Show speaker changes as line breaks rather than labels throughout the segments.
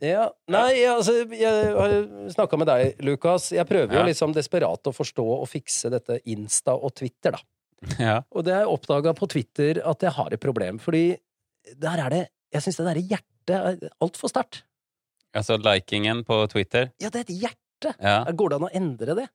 Ja. Nei, jeg- altså, jeg har snakka med deg, Lukas. Jeg prøver jo
Ja.
liksom desperat å forstå og fikse dette Insta og Twitter, da.
Ja.
Og det har jeg oppdaga på Twitter at jeg har et problem, fordi der er det Jeg syns det derre hjertet er altfor sterkt.
Altså likingen på Twitter.
Ja, det er et hjerte!
Ja.
Går det an å endre det?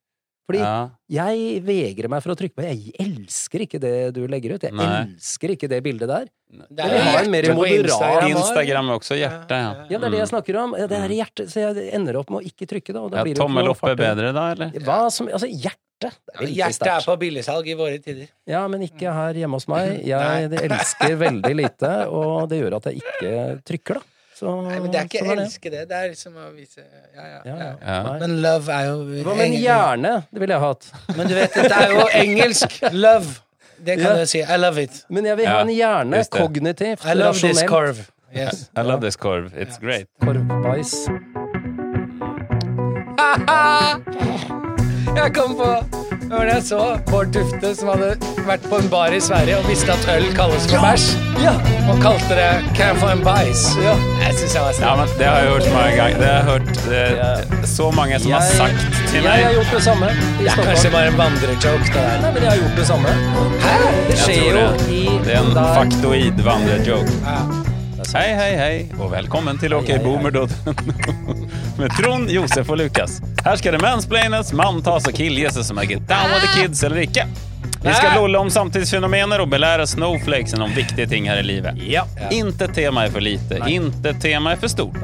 Fordi
ja.
jeg vegrer meg for å trykke på. Jeg elsker ikke det du legger ut. Jeg
Nei.
elsker ikke det bildet der.
Det
Men vi har en mer
hjerte på
moderat-
Instagram også.
Instagram er også hjerte, ja.
Ja, det er det jeg
Mm.
snakker om. Ja, Det er hjertet, så jeg ender opp med å ikke trykke, da. Og da
Ja,
blir det jo ikke noe
tommel opp er
fart i det.
bedre da, eller?
Hva som Altså, hjerte. Det er veldig
Hjertet er
sterkt.
på billigsalg i våre tider.
Ja, men ikke her hjemme hos meg.
Mm. Nei.
Jeg det elsker veldig lite, og det gjør at jeg ikke trykker, da. Så,
Nei, men det er ikke
sånn det.
elske det. Det er liksom å vise ja, ja,
Ja,
ja.
ja.
Ja.
Nei.
Men love er jo
Hva med en
egentlig-
hjerne? Det ville jeg hatt.
Men du vet, dette er jo engelsk. Love. Det kan
Ja.
du si. I love it.
Men jeg vil ha
Ja,
en hjerne.
just det.
Kognitivt,
I love this
rasjonelt.
curve. Yes.
I love this corv. It's great.
Korvbais.
Jeg kom på det var da jeg så Bård Tufte som hadde vært på en bar i Sverige og visste at øl kalles for bæsj,
Ja!
og kalte det 'Can I få en bæsj'. Jeg syns jeg
Ja,
var snill.
men det har jeg hørt mange ganger. Det har jeg hørt eh, så mange som har
Jeg-
sagt til
Jeg har
meg.
gjort det samme i
Det er kanskje
Stockholm.
bare en vandrejoke, det der.
Nei, men jeg har gjort det samme. Hæ? Det
Jeg
skjer
tror
jo
det.
i
Det er en
der-
faktoid vandrejoke.
Ja.
Hei, hei, hei, og velkommen til okboomer.no med Trond, Josef og Lukas. Her skal det mansplaines, manntas og killgjesses som er get down with
Ah.
the kids eller ikke. Vi skal lolle om samtidsfenomener og belære snowflakesen om viktige ting her i livet.
Ja.
Inte tema är för lite, inte tema är för stort.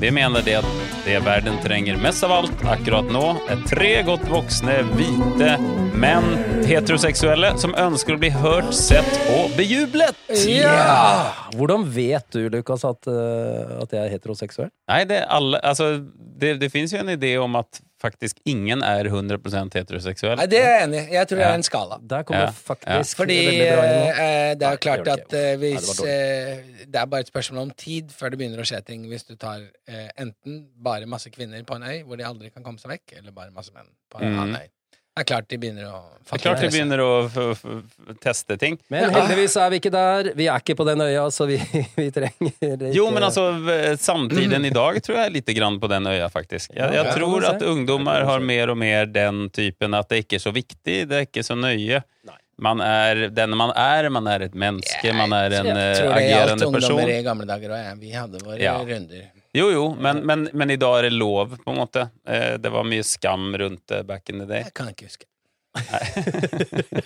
Vi menar det att det världen tränger mest av allt akkurat nå er tre godt voksne, hvite menn, heteroseksuelle, som ønsker å bli hørt, sett og bejublet.
Ja! Hvordan vet du, Lukas, at, eh, at jeg er heteroseksuell?
Nei, det, er alle, altså, det, det finns ju en idé om at faktisk ingen er 100% heteroseksuell.
Nei, det er jeg enig i. Jeg tror det er en skala.
Der kommer
Ja.
faktisk
Fordi
veldig bra inn nå.
eh, det er jo
Nei, det gjør
klart
det
at eh,
Nei,
hvis
det var
eh, Det er bare et spørsmål om tid før det begynner å skje ting hvis du tar eh, enten bare masse kvinner på en øy hvor de aldri kan komme seg vekk, eller bare masse menn på en
Mm.
annen øy. Det er klart de begynner å altså.
Det er klart de begynner å f- f- teste ting.
Men heldigvis er vi ikke der. Vi er ikke på den øya, så vi, vi trenger ikke
Jo, men altså, v- samtiden i dag tror jeg er litt grann på den øya, faktisk. Jeg,
Ja,
jeg
det kan
tror
man
at
si.
ungdommer har mer og mer den typen at det ikke er så viktig, det er ikke så nøye. Man er den man er, man er et menneske, man er en
Jeg
eh,
tror det gjaldt
agerende
ungdommer
person.
i gamle dager òg, jeg. Vi hadde våre
Ja.
runder.
Jo, jo, men, men, men i dag er det lov, på en måte. Eh, Det var mye skam rundt det back in the day.
Jeg kan ikke huske.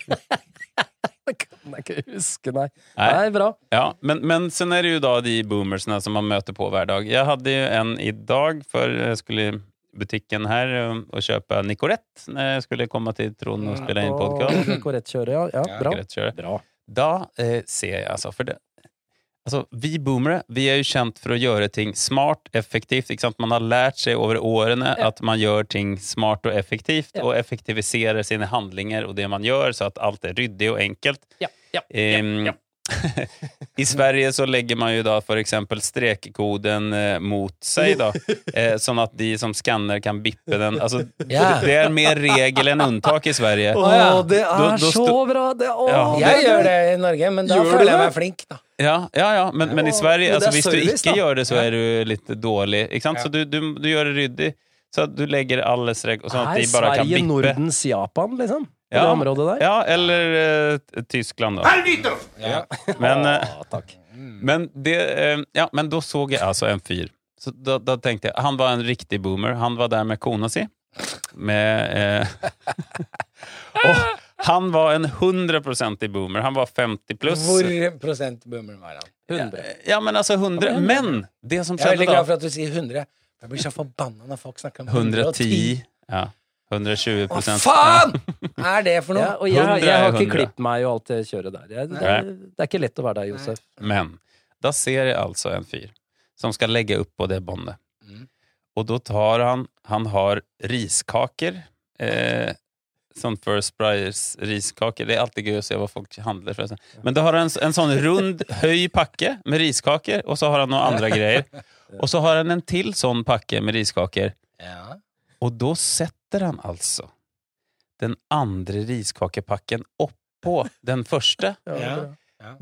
Det kan jeg ikke huske, nei.
Nei.
Nei, bra.
Ja, men, men sen är det ju då de boomersna som man möter på hver dag. Jeg hadde ju en idag, for jeg skulle i butikken her eh, og kjøpe Nicorette når jeg skulle komme til Trond og spille inn podcast.
Og Korrekt kjøre, ja. ja.
Ja,
Bra.
Nicorette kjører.
bra.
Da eh, ser jeg altså for det. Altså, vi boomere vi er jo kjent for å gjøre ting smart, effektivt. Ikke sant? Man har lært seg over årene at man gjør ting smart og effektivt, og effektiviserer sine handlinger og det man gjør, så at alt er ryddig og enkelt.
Ja, ja,
Ehm, I Sverige så legger man jo da for eksempel strekkoden eh, mot seg, da. Eh, sånn at de som skanner kan bippe den. Altså,
Ja.
Det er mer regel enn unntak i Sverige.
Å,
ja.
det er
Da- da sto-
så bra! Det, å,
Ja.
det-
Jeg gjør det i Norge, men da
Gjør du
føler
det?
jeg meg flink, da.
Ja, ja, ja. Men, men i
Men
Sverige,
det
altså,
er
hvis du
service,
ikke
da.
gjør det, så er du litt dårlig. Ikke sant?
Ja.
Så du, du, du gjør det ryddig. Så at du legger alle strek og sånn at
Er
de bare kan
Sverige
vippe.
Nordens Japan, liksom? På
ja.
det området der?
Ja, eller eh, t- Tyskland, da.
Ja.
Men, eh,
Ja, takk.
men det eh, Ja, men da så jeg altså en fyr. Så da, da tenkte jeg Han var en riktig boomer. Han var der med kona si. Med eh, Og han var en 100 i boomer. Han var 50 pluss.
Hvor prosent boomer var han?
100.
Ja, men altså 100. Men det som
Jeg er
skjedde
veldig glad
da
for at du sier 100. Jeg blir så forbanna når folk snakker om
110. Ja. 120
Hva
prosent.
faen er det for noe?
Ja, og jeg,
100
jeg har
er
ikke
100.
klippet meg og alt det kjøret der. Jeg, det, er, det er ikke lett å være der, Josef.
Men da ser jeg altså en fyr som skal legge opp på det båndet.
Mm.
Og da tar han Han har riskaker. Eh, sånn First Price riskaker. Det er alltid gøy å se hva folk handler. Forresten. Men da har han en, en sånn rund, høy pakke med riskaker, og så har han noen andre greier. Og så har han en til sånn pakke med riskaker.
Ja.
Og da setter han altså den andre riskakepakken oppå den første.
Ja.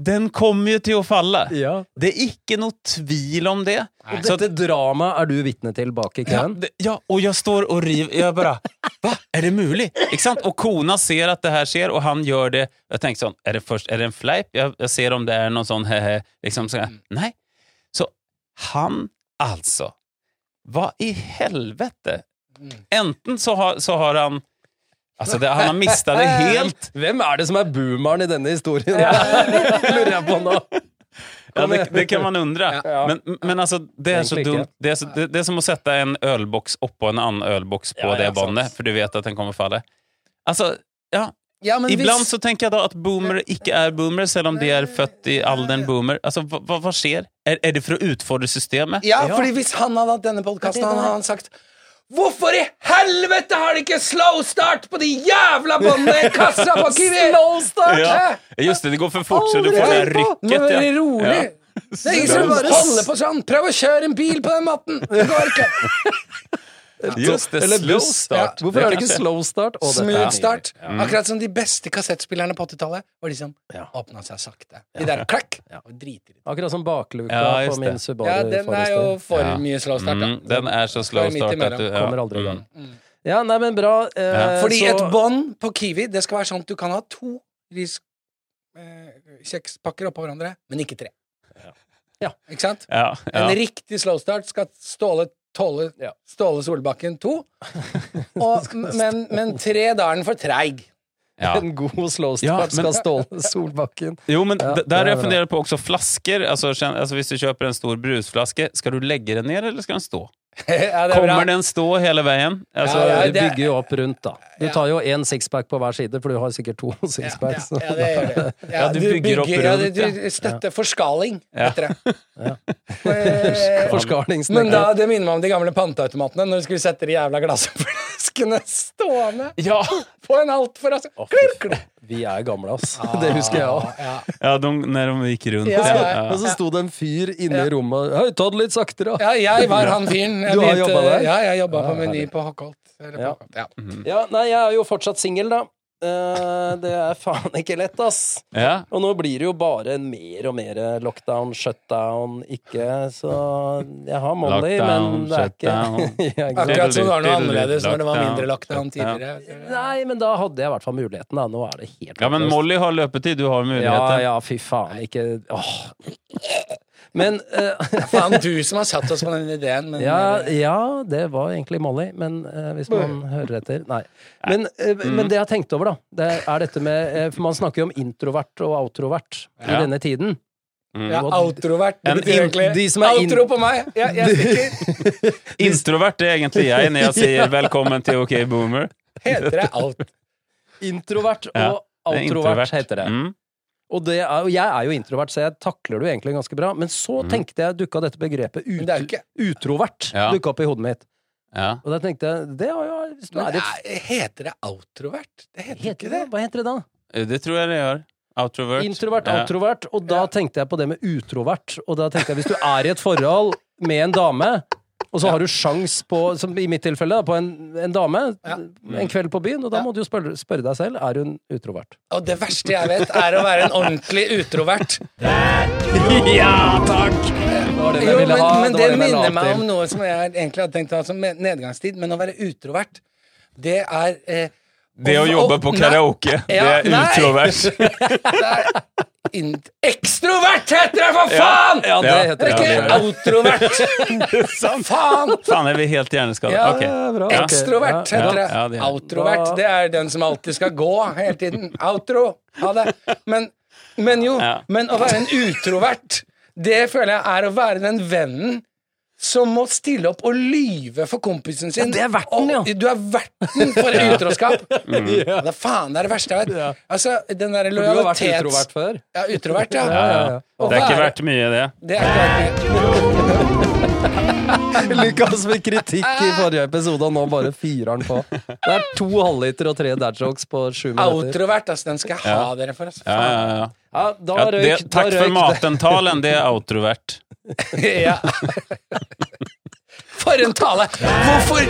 Den kommer jo til å falle!
Ja.
Det er ikke noe tvil om det.
Nei.
Så
Dette dramaet er du vitne til bak i
ja,
køen.
det, ja, og jeg står og river Jeg bare Va? Er det mulig? Ikke sant? Og kona ser at det her skjer, og han gjør det Jeg tenkte sånn Er det, først, er det en fleip? Jeg, jeg ser om det er noen sånn he-he liksom, så,
Mm.
Nei. Så han, altså Hva i helvete?
Mm.
Enten så har, så har han Altså, det, han har mista det helt.
Eh, Hvem er det som er boomeren i denne historien? Lurer jeg på nå.
Ja, det, det kan man undre.
Ja.
Men, men altså, det er så
Egentlig ikke.
dumt. Det er, så, det, det er som å sette en ølboks oppå en annen ølboks på
Ja, ja,
det
sant.
båndet, for du vet at den kommer falle. Altså, ja,
Ja, men
Ibland
hvis-
så tänker jag då att boomer ikke er boomer, selv om de er født i alderen boomer. Alltså, hva, hva, hva skjer? Er, er det for å utfordre systemet?
Ja, fordi hvis han hadde hatt denne podkasten, hadde han sagt Hvorfor i helvete har de ikke slow start på de jævla båndene i kassa på Kiwi? slow start?
Ja. Just det, det går for fort, så du får det här
Nå
rycket.
er det
Ja.
rolig.
Ja.
Det er ingen som
Slow
holder på sånn. Prøv å kjøre en bil på den måten. Det går ikke.
Just det,
Eller
slow
buss.
start.
Hvorfor er det
kanske-
ikke slow start? Å, dette er
Smooth
nydelig.
start.
Mm.
Akkurat som de beste kassettspillerne på 80-tallet var de som
Ja.
åpna seg sakte. De der klakk. Driter i det.
Akkurat som bakluka
Ja,
på
just det.
min Subaru.
Ja, den er
Forester.
jo for
Ja.
mye slow start, da.
Mm, den er så slow
midt
start at du...
imellom.
ja.
Kommer aldri i gang.
Mm.
Ja, nei, men bra. Eh,
Ja.
Fordi
så-
et bånd på Kiwi Det skal være sånn at du kan ha to ris eh, kjekspakker oppå hverandre, men ikke tre.
Ja.
Ikke sant?
Ja,
En
ja.
riktig slow start skal Ståle, tåle,
Ja.
ståle Solbakken to. Og, men, men tre, da er den for treig.
ja.
En god slow
Ja,
start
men-
skal Ståle Solbakken.
Jo, men
Ja,
d-
det
der
er
har jeg
bra.
funderat på også flasker. Alltså, känn- alltså, hvis du köper en stor brusflaske, skal du lägga den ner eller skal den stå?
ja, det er bra.
Kommer den stå hele veien? Altså, Alltså,
Ja,
Du
det-
bygger jo opp rundt, da. Du
Ja.
tar jo én sixpack på hver side, for du har sikkert to
ja,
sixpacks.
ja, ja, det gjør det.
Ja, du bygger opp
ja,
rundt,
du, du støtter forskaling
Ja.
etter det. Eh, Men da,
Forskarlingsnekter.
det minner meg om de gamle panteautomatene når du skulle sette de jævla glassflaskene stående
ja.
på en altfor rask
Å, fy faen. Vi er gamle, ass.
Ah.
Det husker jeg òg.
Ja.
Ja, de, när de gick runt.
Ja,
ja,
ja.
Og så sto det en fyr inne i rommet Hei, ta det litt saktere!
ja, jeg var han fyren. Jeg
Du har
begynte-
jobba der?
Ja, jeg jobba
Ja,
på Meny
herlig.
på Hockholt. Eller på
Ja. Mm.
Hockholt, ja.
Ja, nei, jeg er jo fortsatt singel, da. Eh, det er faen ikke lett, ass.
Ja.
Og nå blir det jo bare mer og mer lockdown, shutdown, ikke Så jeg har Molly, men
Lockdown,
det er ikke
shutdown.
Ja, ikke sant?
Akkurat som det var noe
Diddle-diddle,
annerledes når det var
lockdown,
mindre lockdown
lockdown.
tidligere.
Nei, men da hadde jeg i hvert fall muligheten, da. Nå er det helt
Ja, men
håpløst.
Molly har løpetid, du har
Ja,
muligheter.
ja, fy faen, ikke Åh. Men eh,
Faen, du som har satt oss på den ideen, men eh,
ja, ja, det var egentlig Molly, men eh, hvis man hører etter Nei. Men, eh, men det jeg har tenkt over, da, det er dette med eh, For man snakker jo om introvert og outrovert i
Ja.
denne tiden.
ja, outrovert. Det
En
betyr
in-
egentlig
de som er in-
outro på meg! Ja, jeg stikker.
Introvert er egentlig jeg når jeg sier velkommen til OK Boomer.
Heter det out?
Introvert og
Ja, Det er
outrovert heter det.
Mm.
Og, det er, og jeg er jo introvert, så jeg takler det jo egentlig ganske bra. Men så tenkte jeg dukka dette begrepet
Men det er jo
ut,
ikke
utrovert
Ja.
dukka opp i hodet mitt.
Ja.
Og da tenkte jeg Det har jo
men
er
det
det,
er- Heter det outrovert? Det heter
heter
ikke
det,
det.
Hva heter det da?
Det tror jeg det gjør. Outrovert.
Introvert,
Ja.
outrovert. Og da
Ja.
tenkte jeg på det med utrovert. Og da tenkte jeg, hvis du er i et forhold med en dame, og så har du sjans på, som i mitt tilfelle, da, på en, en dame
Ja.
en kveld på byen, og da
Ja.
må du jo spørre, spørre deg selv er hun utrovert.
Og det verste jeg vet, er å være en ordentlig utrovert.
Ja, takk! Det var den jeg
Jo, men,
ville ha.
men
det
det
var den jeg la
minner
opp
meg
til.
om noe som jeg egentlig hadde tenkt å ha som med- nedgangstid, men å være utrovert, det er eh,
Det å jobbe på
Nei,
karaoke, det
Ja,
er
nei.
utrovert.
det er in- Ekstrovert heter det, for
Ja,
faen!
Ja, det
Ja.
heter
Det
det.
er
Ja, det
ikke
er
outrovert!
Det er sant.
faen!
Faen, er vi helt hjerneskadde?
Ja,
Ok.
Ja, bra. Ok,
Ekstrovert
ja,
ja.
heter det.
Ja, det er-
Outrovert, det er den som alltid skal gå hele tiden. Outro. Ha det. Men, men jo,
Ja.
men å være en utrovert, det føler jeg er å være den vennen som må stille opp og lyve for kompisen sin.
Ja, det er verten, ja.
Og Du er verten for utroskap. Mm. Ja, Det er faen det er det verste jeg vet. Altså, den derre
Du har vært
lojalitets...
utrovert før.
Ja, utrovert, ja.
Ja,
ja,
ja.
ja.
Å
Det er ikke
være-
verdt mye, det.
Det er ikke verdt det.
Lukas med kritikk i forrige episode, og nå bare fyrer han på. Det er to halvliter og tre dadjokes på sju minutter.
Outrovert, altså. Den skal jeg ha dere for. Altså.
Ja,
Faen.
ja, ja.
Ja, da
Ja, det,
røyk, da
takk for
røyk det.
matentalen, det er outrovert.
Ja. For en tale! Hvorfor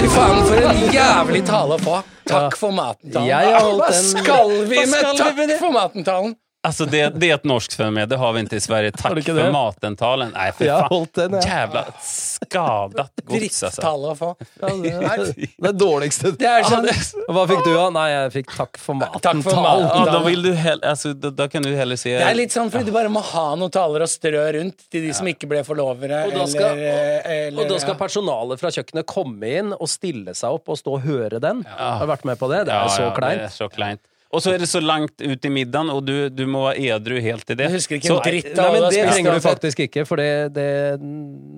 Fy faen, for en jævlig tale å få. Takk for maten-talen.
Jeg har holdt
Hva
en-
skal vi
Hva
med
skal vi med
takk
det?
for maten-talen?
Alltså Altså, det, det är ett norskt fenomen, det har vi inte i Sverige.
du
Tack
inte
för
det?
matentalen. Nej, för
Jag har
fan.
holdt den, jeg.
Jävla skadat gods altså. alltså.
Drittallet å få.
Det er dårligste.
Det er sånn
Hva fikk du, da? Nei, jeg fikk takk for maten.
Takk for
Talen.
maten.
Ja, då, vill du hell, alltså, då, då kan du hellre se...
Det er litt sånn fordi du bare må ha noen taler å strø rundt til de som ikke ble forlovere.
Og da skal-
eller, eh, eller,
Og da skal
ja.
personalet fra kjøkkenet komme inn og stille seg opp og stå og høre den. Har du vært med på det? Det er
Ja,
så
ja, det är
kleint.
så kleint. Og så er det så langt ut i middagen, og du, du må være edru helt til det.
Jeg husker ikke
så,
en dritt av
Nei, men
hva
Det
jeg spiste
trenger du
uansett.
faktisk ikke, for det, det,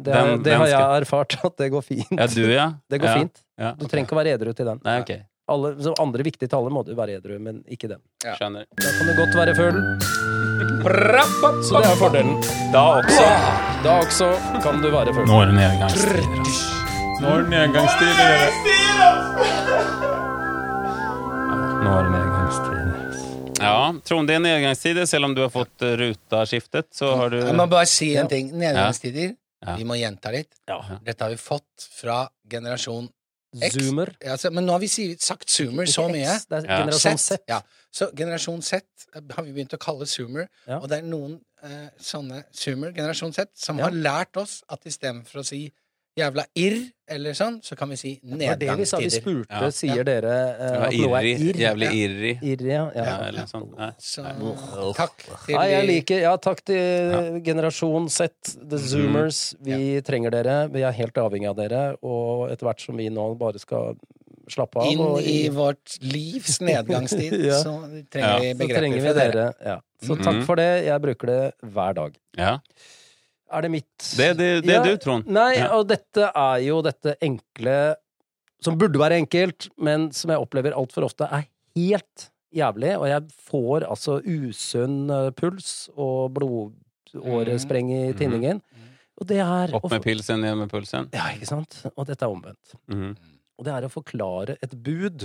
det, er-
Hvem-
det
hvem
har jeg
skal-
erfart at det går fint.
Ja, du ja.
Det går
ja.
fint.
Ja.
Du trenger ikke å være edru til den.
Nei, ok.
Alle, så andre viktige taler må du være edru, men ikke den.
Skjønner.
Da kan du godt være full.
Rappa-
Så det er fordelen.
Da også.
Da også kan du være full.
Nå er det nedgangstider. Nå er det nedgangstider. Nå er det nedgangstider. Ja, Trond, det er nedgangstider, selv om du har fått eh, rutaskiftet, så har du
Jeg må bare si en ting. Nedgangstider.
Ja.
Vi må gjenta litt. Dette har vi fått fra generasjon X.
Zoomer.
altså, Men nå har vi si- sagt zoomer så mye.
X, Det er
Ja.
generasjon Z.
Ja. Så generasjon Z eh, har vi begynt å kalle zoomer.
Ja.
Og det er noen eh, sånne zoomer, generasjon Z, som har lært oss at istedenfor å si jævla irr eller sånn, så kan vi si
Det var det vi sa. Vi
nedgangstider.
spurte,
Ja.
sier dere eh,
Det var
at noe er
irri.
irr?
Jævlig irri.
Irri, ja. ja.
Ja, eller noe sånt. Nei.
Så
Nei.
takk til
Nei, jeg
de-
liker Ja, takk til generasjon Z, the zoomers. Vi trenger dere. Vi er helt avhengig av dere. Og etter hvert som vi nå bare skal slappe av
inn
og
i vårt livs nedgangstid,
Ja.
så
Ja.
trenger vi
så
begreper
trenger
fra
vi
dere.
dere. Ja. Så takk for det. Jeg bruker det hver dag.
Ja.
Er det mitt
Det, det, det
Ja.
er du, Trond.
Nei,
Ja.
og dette er jo dette enkle Som burde være enkelt, men som jeg opplever altfor ofte er helt jævlig. Og jeg får altså usunn eh, puls og blodårespreng i tinningen. Og det er å
Mm. Mm-hmm. Opp med pilsen, ned med pulsen.
Ja, ikke sant? Og dette er omvendt.
Mhm.
Og det er å forklare et bud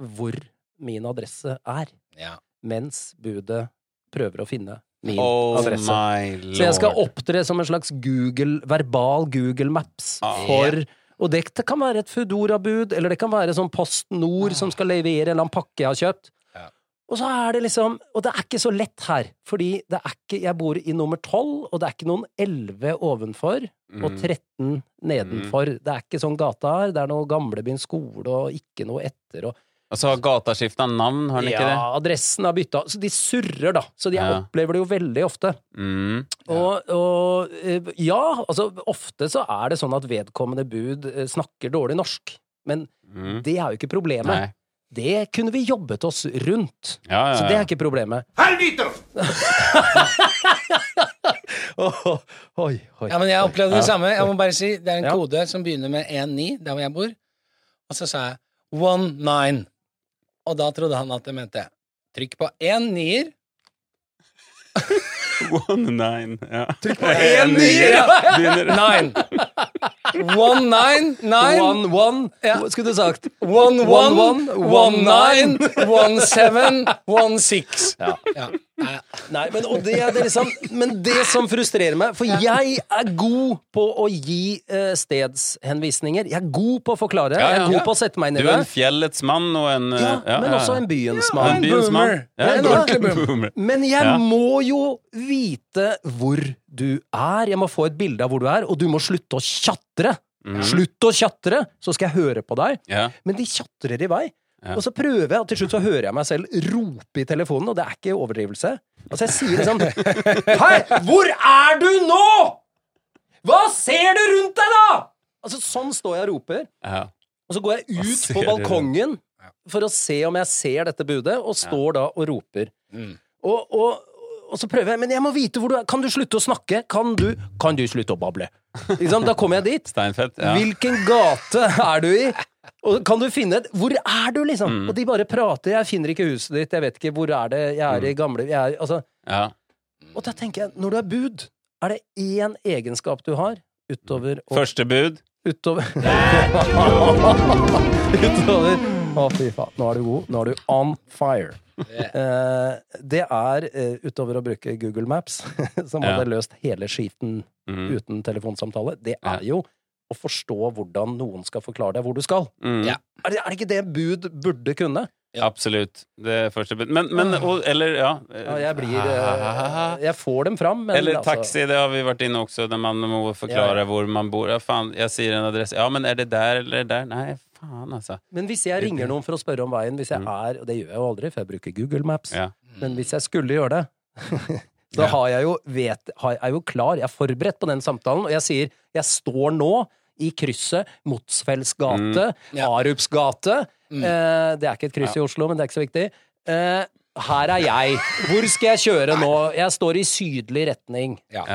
hvor min adresse er,
Ja.
mens budet prøver å finne min
Oh
adresse.
my lord.
Så jeg skal opptre som en slags Google, verbal Google Maps
Ah.
for Og det kan være et Foodora-bud, eller det kan være sånn Post Nord som skal levere en eller annen pakke jeg har kjøpt.
Ja.
Og så er det liksom Og det er ikke så lett her, fordi det er ikke Jeg bor i nummer 12, og det er ikke noen 11 ovenfor og
Mm.
13 nedenfor. Det er ikke sånn gata her. Det er noe Gamlebyen skole og ikke noe etter og
Mhm. Og så har gataskifta navn, har den ikke
Ja, adressen er bytta. Så de surrer, da. Så de jeg
Ja.
opplever det jo veldig ofte.
det? Mm.
Og, og eh, ja, altså ofte så er det sånn at vedkommende bud eh, snakker dårlig norsk. Men
Mm.
det er jo ikke problemet.
Nei.
Det kunne vi jobbet oss rundt.
Ja, ja,
Så det
ja.
er ikke problemet. oi, oi.
Ja, men jeg opplevde det samme. Jeg må bare si, Det er en
Ja.
kode som begynner med 19, der hvor jeg bor. Og så sa jeg 19. Og da trodde han at jeg mente Trykk på én nier.
One nine. Ja. Trykk på
En nier, ja. Nine. One nine nine.
One, one.
Ja.
Hva Skulle du sagt.
One one.
One, one.
One nine. One seven. One six. Ja. Nei,
Nei, men, og det, er det liksom, men det som frustrerer meg For jeg er god på å gi eh, stedshenvisninger. Jeg er god på å forklare.
Ja, ja.
Jeg er god
Ja.
på å sette meg inn i
Du er
det.
en fjellets mann og en eh,
Ja,
ja,
men
ja,
også en
ja.
byens
En
mann.
by-
byens mann.
boomer.
Ja,
Jeg er en
en
ordentlig
boomer.
Men jeg
Ja.
må jo vite hvor du er. Jeg må få et bilde av hvor du er, og du må slutte å tjatre!
Mm.
Slutt å tjatre, så skal jeg høre på deg.
Ja.
Men de tjatrer i vei.
Ja.
Og så prøver jeg, og til slutt så hører jeg meg selv rope i telefonen, og det er ikke overdrivelse. Altså, jeg sier liksom Hei, hvor er du nå?! Hva ser du rundt deg, da?! Altså, sånn står jeg og roper.
Ja.
Og så går jeg ut
ser
på
du?
balkongen for å se om jeg ser dette budet, og står da og roper.
Mm.
Og, og, og så prøver jeg, men jeg må vite hvor du er. Kan du slutte å snakke? Kan du, kan du slutte å bable? Ikke sant? Da kommer jeg dit.
Steinfeld. Ja.
Hvilken gate er du i? Og kan du finne et Hvor er du, liksom?
Mm.
Og de bare prater. Jeg finner ikke huset ditt, jeg vet ikke hvor er det, jeg
Mm.
er i gamle jeg er, altså.
Ja. Mm.
Og da tenker jeg, når du er bud, er det én egenskap du har utover å
Første bud.
Utover Utover Å, fy faen. Nå er du god. Nå er du on fire. Eh, det er, eh, utover å bruke Google Maps, som
Ja.
hadde løst hele skiten
Mm.
uten telefonsamtale, det
Ja.
er jo å forstå hvordan noen skal forklare deg hvor du skal.
Mm.
Ja.
Er det, er det ikke det bud burde kunne?
Ja.
Absolutt. Det er første bud. Men, men og, Eller, ja.
Ah. Ja,
Ah,
jeg blir eh, Jeg får dem fram, men altså-
Eller taxi, det har vi vært inne også, der man må forklare
Ja, ja.
hvor man bor. Ja, faen, jeg sier en adresse. Ja, men er det der eller er det der? Nei, faen, altså.
Men hvis jeg ringer noen for å spørre om veien, hvis jeg er Og det gjør jeg jo aldri, for jeg bruker Google Maps.
Mm. Ja.
Men hvis jeg skulle gjøre det Da
Ja.
har jeg jo vet, har, er jeg jo klar, jeg er forberedt på den samtalen, og jeg sier jeg står nå i krysset Motsfells gate,
Mm. Ja. Mm.
Arups gate eh, Det er ikke et kryss i Oslo, men det er ikke så viktig. Eh, her er jeg. Hvor skal jeg kjøre nå? Jeg står i sydlig retning.
Ja,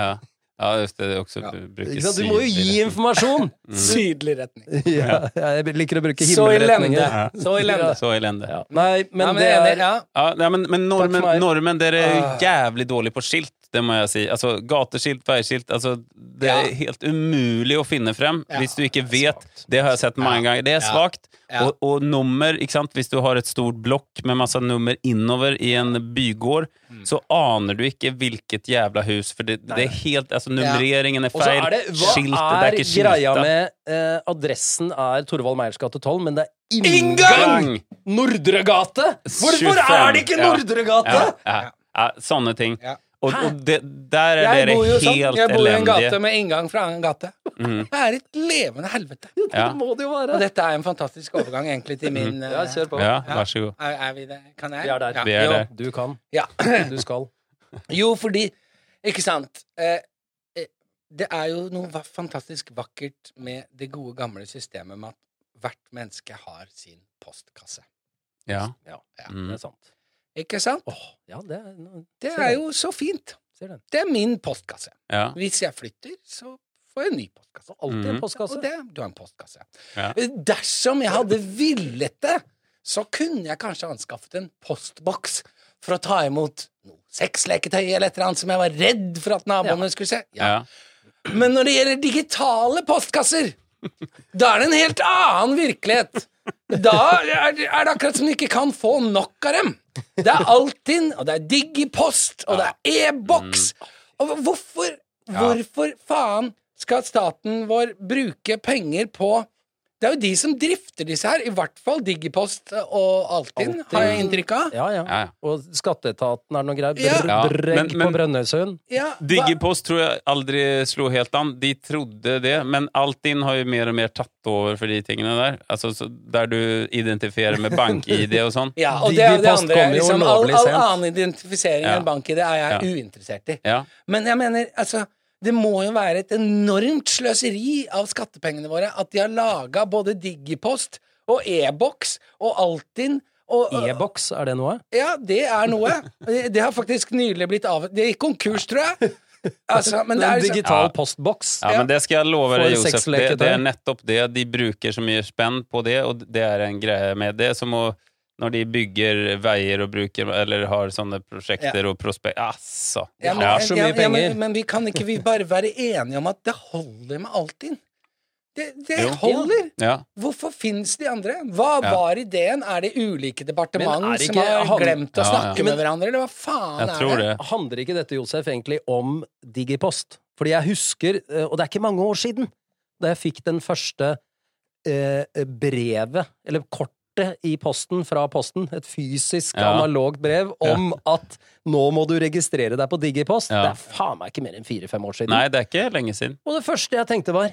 ja just det. det er også
Ja.
bruker
Ikke sant? Du må jo gi
sydlig-
informasjon!
Sydlig retning.
Ja, jeg liker å bruke
Så elende.
himmelretninger.
Så elende.
Så elendig.
Ja.
Ja.
Nei, men,
Ja, men
det
jeg er enig,
er
ja.
nei, men, men
for
normen,
meg.
normen dere er jo
Ah.
jævlig dårlig på skilt, det må jeg si. Altså, gateskilt, veiskilt altså, Det er
Ja.
helt umulig å finne frem
Ja,
hvis du ikke
det er
vet. Det har jeg sett mange
Ja.
ganger. Det er
Ja.
svakt.
Ja.
Og, og nummer, ikke sant? hvis du har et stort blokk med masse nummer innover i en bygård,
Mm.
så aner du ikke hvilket jævla hus, for det, det er helt Altså, numreringen er
Og så
feil.
er det Hva
skiltet, det
er
er ikke
greia
skilta.
med eh, Adressen er Torvald Meyers gate 12, men det er
Inngang!
inngang! Nordregate! Hvorfor
25,
er det ikke
ja.
Nordregate?!
Ja, ja, ja, sånne ting.
Ja.
Og,
Hæ?
og det, der er
Jeg
dere
bor jo
helt
sånn. Jeg bor i en gate
elendige.
med inngang fra annen gate. Det er et levende helvete.
Ja.
Det må det Mhm. jo
Og
være.
dette er en fantastisk overgang egentlig til min eh,
Ja, kjør på.
Ja, vær så god.
Er, er vi det? Kan jeg?
Vi er der.
Ja.
Vi er
jo,
der.
Du kan.
Ja.
Du skal.
jo, fordi Ikke sant. Eh, eh, det er jo noe va- fantastisk vakkert med det gode, gamle systemet med at hvert menneske har sin postkasse.
Ja.
Ja,
Ja.
det
Mm.
er sant.
Ikke sant?
Åh, ja, det er, nå
Det
ser
er
den.
jo så fint.
ser den.
Det er min postkasse.
ja.
Hvis jeg flytter, så får jeg en ny postkasse.
Alltid en
Mhm.
postkasse.
Og det, du har en postkasse. Eh,
Ja.
Dersom jeg hadde villet det, så kunne jeg kanskje anskaffet en postboks for å ta imot noe sexleketøy eller et eller annet som jeg var redd for at naboene skulle se. Ja.
Ja.
Men når det gjelder digitale postkasser, da er det en helt annen virkelighet. Da er det, er det akkurat som du ikke kan få nok av dem. Det er Altinn, og det er Digipost, og det er e-boks.
Mm.
Og hva- hvorfor, hvorfor faen skal staten vår bruke penger på Det er jo de som drifter disse her, i hvert fall Digipost og Altinn, har jeg inntrykk av.
Ja, ja.
Ja, ja.
Og skatteetaten er noe greier.
Ja.
Br
Ja,
Bregg
men- men-
på Brønnøysund.
Ja, hva-
Digipost tror jeg aldri slo helt an. De trodde det, men Altinn har jo mer og mer tatt over for de tingene der. Altså, så der du identifierer med bank-ID og sånn.
Ja, og det er jo det
Digipost
andre.
kom jo
Liksom, all,
lovlig
all
sent.
annen identifisering
Ja.
enn bank-ID er jeg
Ja.
uinteressert i.
Ja.
Men jeg mener, altså det må jo være et enormt sløseri av skattepengene våre at de har laga både Digipost og e-boks og Altinn og
E-boks, er det noe?
Ja, det er noe. Det det har faktisk nylig blitt av... Det gikk konkurs, tror jeg. Altså, men det
En
er liksom
digital
Ja.
postboks.
Ja, men det skal jeg love
For
deg, Josef. Det,
sexleketøy.
det er nettopp det. De bruker så mye spenn på det, og det er en greie med det. Som å, når de bygger veier og bruker, eller har sånne prosjekter og prospekt Altså!
Ja, men,
Ja.
så mye
ja, ja, men,
penger.
men vi kan ikke vi bare være enige om at det holder med Altinn? Det, det
Jo.
holder!
Ja.
Hvorfor finnes de andre? Hva
Ja.
var ideen? Er det ulike departement
Men er det
som
ikke
har
han-
glemt å
Ja,
snakke
ja.
med hverandre, eller hva faen
Jeg
er
tror
det?
det.
handler ikke dette, Josef, egentlig om Digipost? Fordi jeg husker, eh, og det er ikke mange år siden, da jeg fikk den første eh, brevet, eller kortet i posten fra Posten, et fysisk,
Ja.
analogt brev, om at nå må du registrere deg på Digipost.
Ja.
Det er faen meg ikke mer enn fire-fem år siden.
Nei, det er ikke lenge siden.
Og det første jeg tenkte, var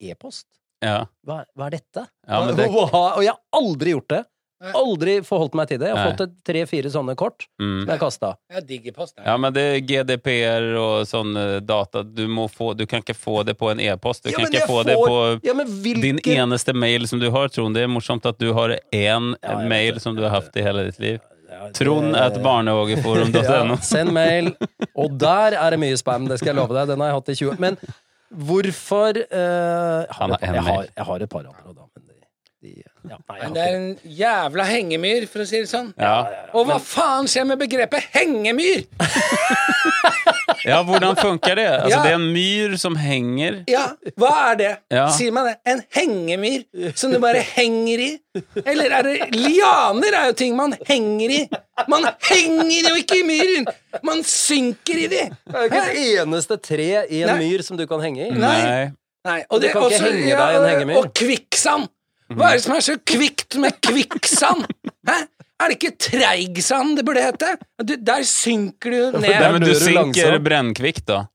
e-post?
Ja.
Hva, hva er dette?
Ja, men det-
Hva- Og jeg har aldri gjort det.
Nei.
Aldri forholdt meg til det. Jeg har
Nei.
fått tre-fire sånne kort
Mm.
som jeg kasta.
Ja, Digipost er
Ja, men det er GDPR og sånn eh, data. Du, må få, du kan ikke få det på en e-post. Du
Ja,
kan
men
ikke
jeg
få det
får-
på
Ja, men hvilke
din eneste mail som du har, Trond. Det er morsomt at du har én
Ja, jeg vet
mail
det,
som du
jeg
har
vet
hatt i hele ditt liv.
Ja, det-
Trond at barnehageforum.no.
Ja, send mail. Og der er det mye spam, det skal jeg love deg. Den har jeg hatt i 20 Men hvorfor eh, jeg, har
Han har
et,
en
jeg, har,
mail.
jeg har et par andre, da, men de, de ja, Nei, jeg
Men
har
det er
ikke det.
en jævla hengemyr, for å si det sånn.
Ja.
Og hva faen skjer med begrepet hengemyr?!
ja, hvordan funker det? Altså,
Ja.
Det er en myr som henger.
Ja, hva er det?
Ja.
Si meg det. En hengemyr som du bare henger i? Eller er det Lianer er jo ting man henger i! Man henger jo ikke i myren! Man synker i de!
Det er jo ikke et eneste tre i en
Nei.
myr som du kan henge i.
Nei.
Nei.
Nei, og det,
Du kan ikke
også-
henge deg i en hengemyr.
Og kvikksand! Hva er det som er så kvikt med kvikksand? Hæ? Er det ikke Treigsand det burde hete? Du, der synker du ned.
Nei, men du
dør du
synker
langsomt.
brennkvikt, da.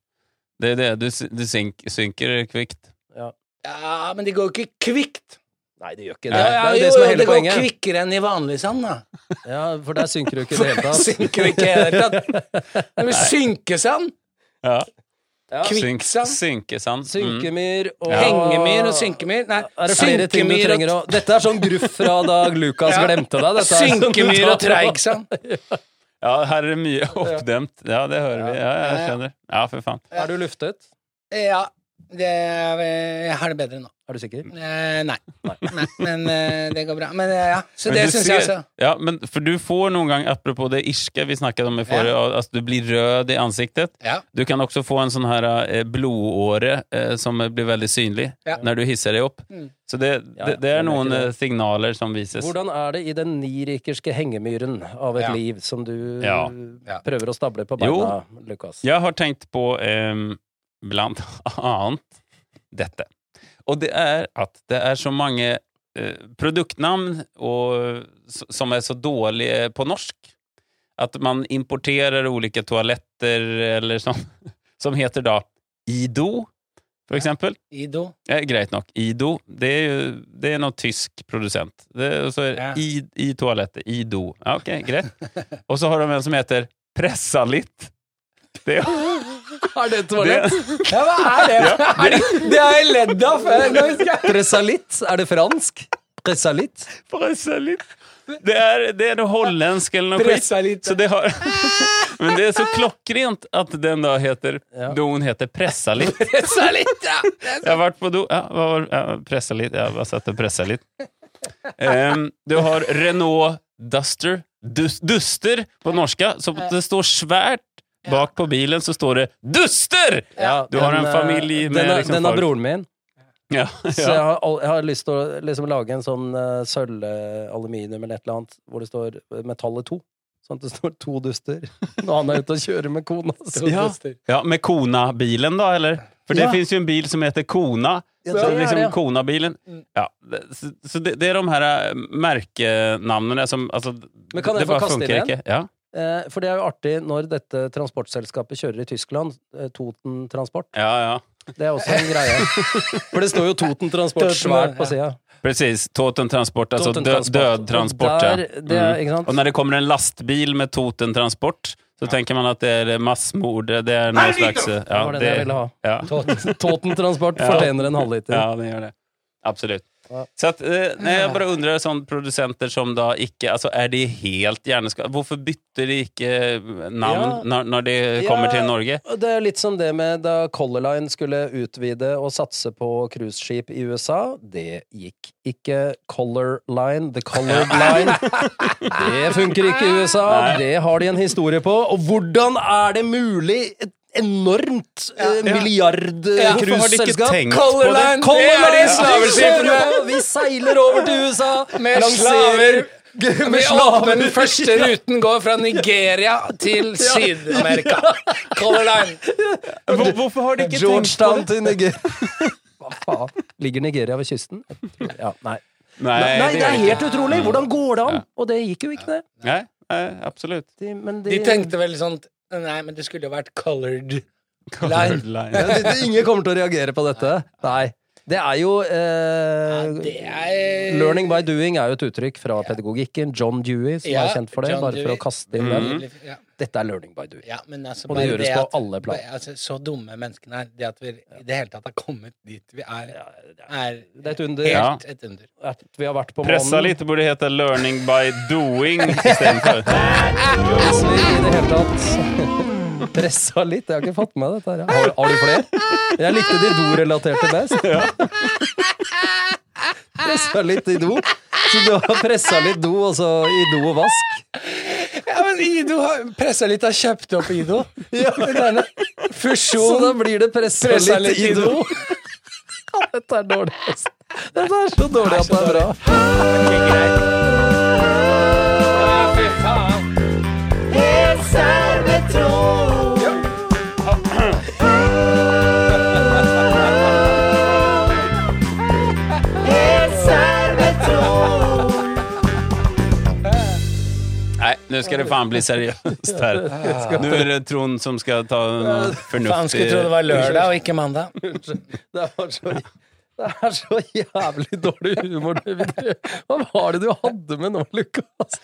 Det er det. Du, sy- du synk, synker kvikt.
Ja, men det går jo ikke kvikt.
Nei, det gjør ikke
Ja,
det.
ja,
det er jo
jo,
det som
jo,
er hele
det går
poenget.
kvikkere enn i vanlig sand, da.
Ja, For der synker du ikke i det hele tatt.
Synker ikke i det hele tatt. Det blir synkesand.
Ja.
Ja.
Synk,
Kvikksand.
synkesand. Mm.
Synkemyr og
Hengemyr og synkemyr. Nei,
Er det flere ting du
synkemyr
trenger å
og
Dette er sånn gruff fra Dag Lukas
Ja.
glemte deg. Dette er sånn du
Synkemyr og
tar-
Treigsand.
Ja, her er det mye oppdemt. Ja, det hører vi. Ja, jeg skjønner. Ja, for faen.
Er du luftet?
Ja, det, jeg har det bedre nå.
Er du sikker?
Eh, nei. nei. Men eh, det går bra. Men eh, ja, så
Men
det
du
syns
ser-
jeg også.
Ja, men for du får noen gang, apropos det irske vi snakket om i forrige, at du blir rød i ansiktet.
Ja.
Du kan også få en sånn her eh, blodåre eh, som blir veldig synlig
Ja.
når du hisser deg opp.
Mm.
Så det,
Ja,
det,
ja, men
det er
det er
noen
ikke
eh, signaler som vises.
Hvordan er det i den nirikerske hengemyren av et
Ja.
liv som du
Ja.
Ja.
prøver å stable på beina, Lukas?
Jeg har tenkt på ehm, blant annet dette. Og det er at det er så mange eh, produktnamn og, s- som er så dårlige på norsk. At man importerer ulike toaletter eller sånn, som heter da Ido, for eksempel.
Ido.
Ja, greit nok. Ido, det er jo det er noen tysk produsent. Det, og så er
Ja.
i, i toalettet. Ido. Ja, ok, greit. Og så har de en som heter Pressalitt. Det,
Er det
det,
Ja, hva er det? Er det, det har jeg ledd av før. Nå husker jeg.
Presalitt? Er det fransk? Presalitt?
Pressalitt. Det er, det er noe hollandsk eller noe skitt.
Pressalitt.
Så det har, men det er så klokkrent at den da heter
Ja.
Doen heter Pressalitt.
Pressa litt, ja. Det er
Jeg har vært på do ja, hva var, ja, Pressa litt. Jeg har satt og pressa litt. Ehm, du har Renault Duster. Dus, duster på norska. Så det står svært bak på bilen, så står det 'Duster'!
Ja,
Du har en
eh,
familie med
den er,
liksom
Den er
folk.
broren min.
Ja,
Så jeg
ja.
har, al- jeg har lyst til å liksom lage en sånn uh, sølvaluminium eller et eller annet hvor det står eh, metallet 2. Sånn at det står to duster når han er ute og kjører med kona si.
Ja. ja Med Kona-bilen, da, eller? For det
Ja.
finns fins jo en bil som heter Kona.
Ja,
Så
det er
liksom
det.
Kona-bilen
Mm.
ja. det- Så, så det, det er de her eh, merkenavnene som altså,
Men kan jeg
det
få
bare
kaste
funker
inn en?
ikke. Ja.
Eh, for det er jo artig når dette transportselskapet kjører i Tyskland. eh, Toten Transport.
ja, ja.
Det er også en greie. For det står jo Toten Transport
Toten,
svært på
ja.
sida.
Precis, totentransport, alltså
Toten
dö,
transport.
död transport.
Och där-
ja. Mm.
det är- ikke sant?
Och när det kommer en lastbil med totentransport så tänker man att det är massmord, det är någon slags... eh,
Det
Ja,
var den jeg ville ha.
ja,
Toten Transport
Ja.
fortjener en halvliter.
ja, det gör det. Absolut.
Ja.
Så att, eh, nej, jag bara undrar, sån producenter som då icke, alltså är det helt hjärnskada? Varför bytte de icke eh, namn
Ja.
när, när det kommer
Ja.
till Norge?
Og Det er litt som det med da Color Line skulle utvide og satse på cruiseskip i USA. Det gikk ikke. Color Line, The Colored Line. Det funker ikke i USA.
Nei.
Det har de en historie på. Og hvordan er det mulig? Et enormt eh,
Ja, hvorfor har de ikke
milliardcruiseselskap.
tenkt
Color Line,
Color
det er de
Line,
slaveskipene!
vi kjører på, Vi seiler over til USA!
Med slaver.
lanserer- Med
Vi
slaver.
åpner den første ruten går fra Nigeria til Syd-Amerika. Color Line.
Var, varför har de icke tänkt på
Georgetown
det?
til Nigeria. Hva faen? Ligger Nigeria ved kysten? Ja, nei.
Nej,
Nei,
det
det
gör
er
det
helt
inte.
utrolig! Hvordan går det an? Og det gikk jo ikke, det.
Nej, nej, absolut.
De, men de,
De tenkte vel sånn Nei, men det skulle jo vært colored.
Colored
Ja,
line.
de, de, Ingen kommer til å reagere på dette. Nei. Det er jo eh,
Ja, det er-
Learning by doing er jo et uttrykk fra pedagogikken. John Dewey, som
Ja,
er kjent for det.
John
Bare for
Dewey.
å kaste inn den.
Mm. Ja.
Dette er learning by doing.
Ja, men altså,
Og det
bare
gjøres
at-
på alle plan.
bare- Altså, så dumme menneskene er. Det at vi i det hele tatt har kommet dit vi er, er
Det er et under.
Ja.
helt et under.
At vi har vært på
Pressa
månen.
lite borde heta learning by doing istället för.
Hvis vi i det hele tatt pressa litt. Jeg har ikke fått med dette. her jeg. Har, har du flere? Jeg likte de do-relaterte best. Pressa litt i do. Så du har pressa litt do, og så i do og vask.
Ja, men Ido har pressa litt, har kjøpt opp Ido. Ja,
Så
Fusjon.
da blir det pressa
Pressa
litt i do. Ja, Dette er dårlig, altså. Dette er så dårlig at det er bra.
fy faen.
Nu ska det fan bli seriöst här. Nu är det Trond som ska ta någon
Faen, skulle
förnuftig...
tro det var lørdag og ikke mandag.
Det var så, det er så jævlig dårlig humor du bedrev. Hva var det du hadde med nå, Lukas?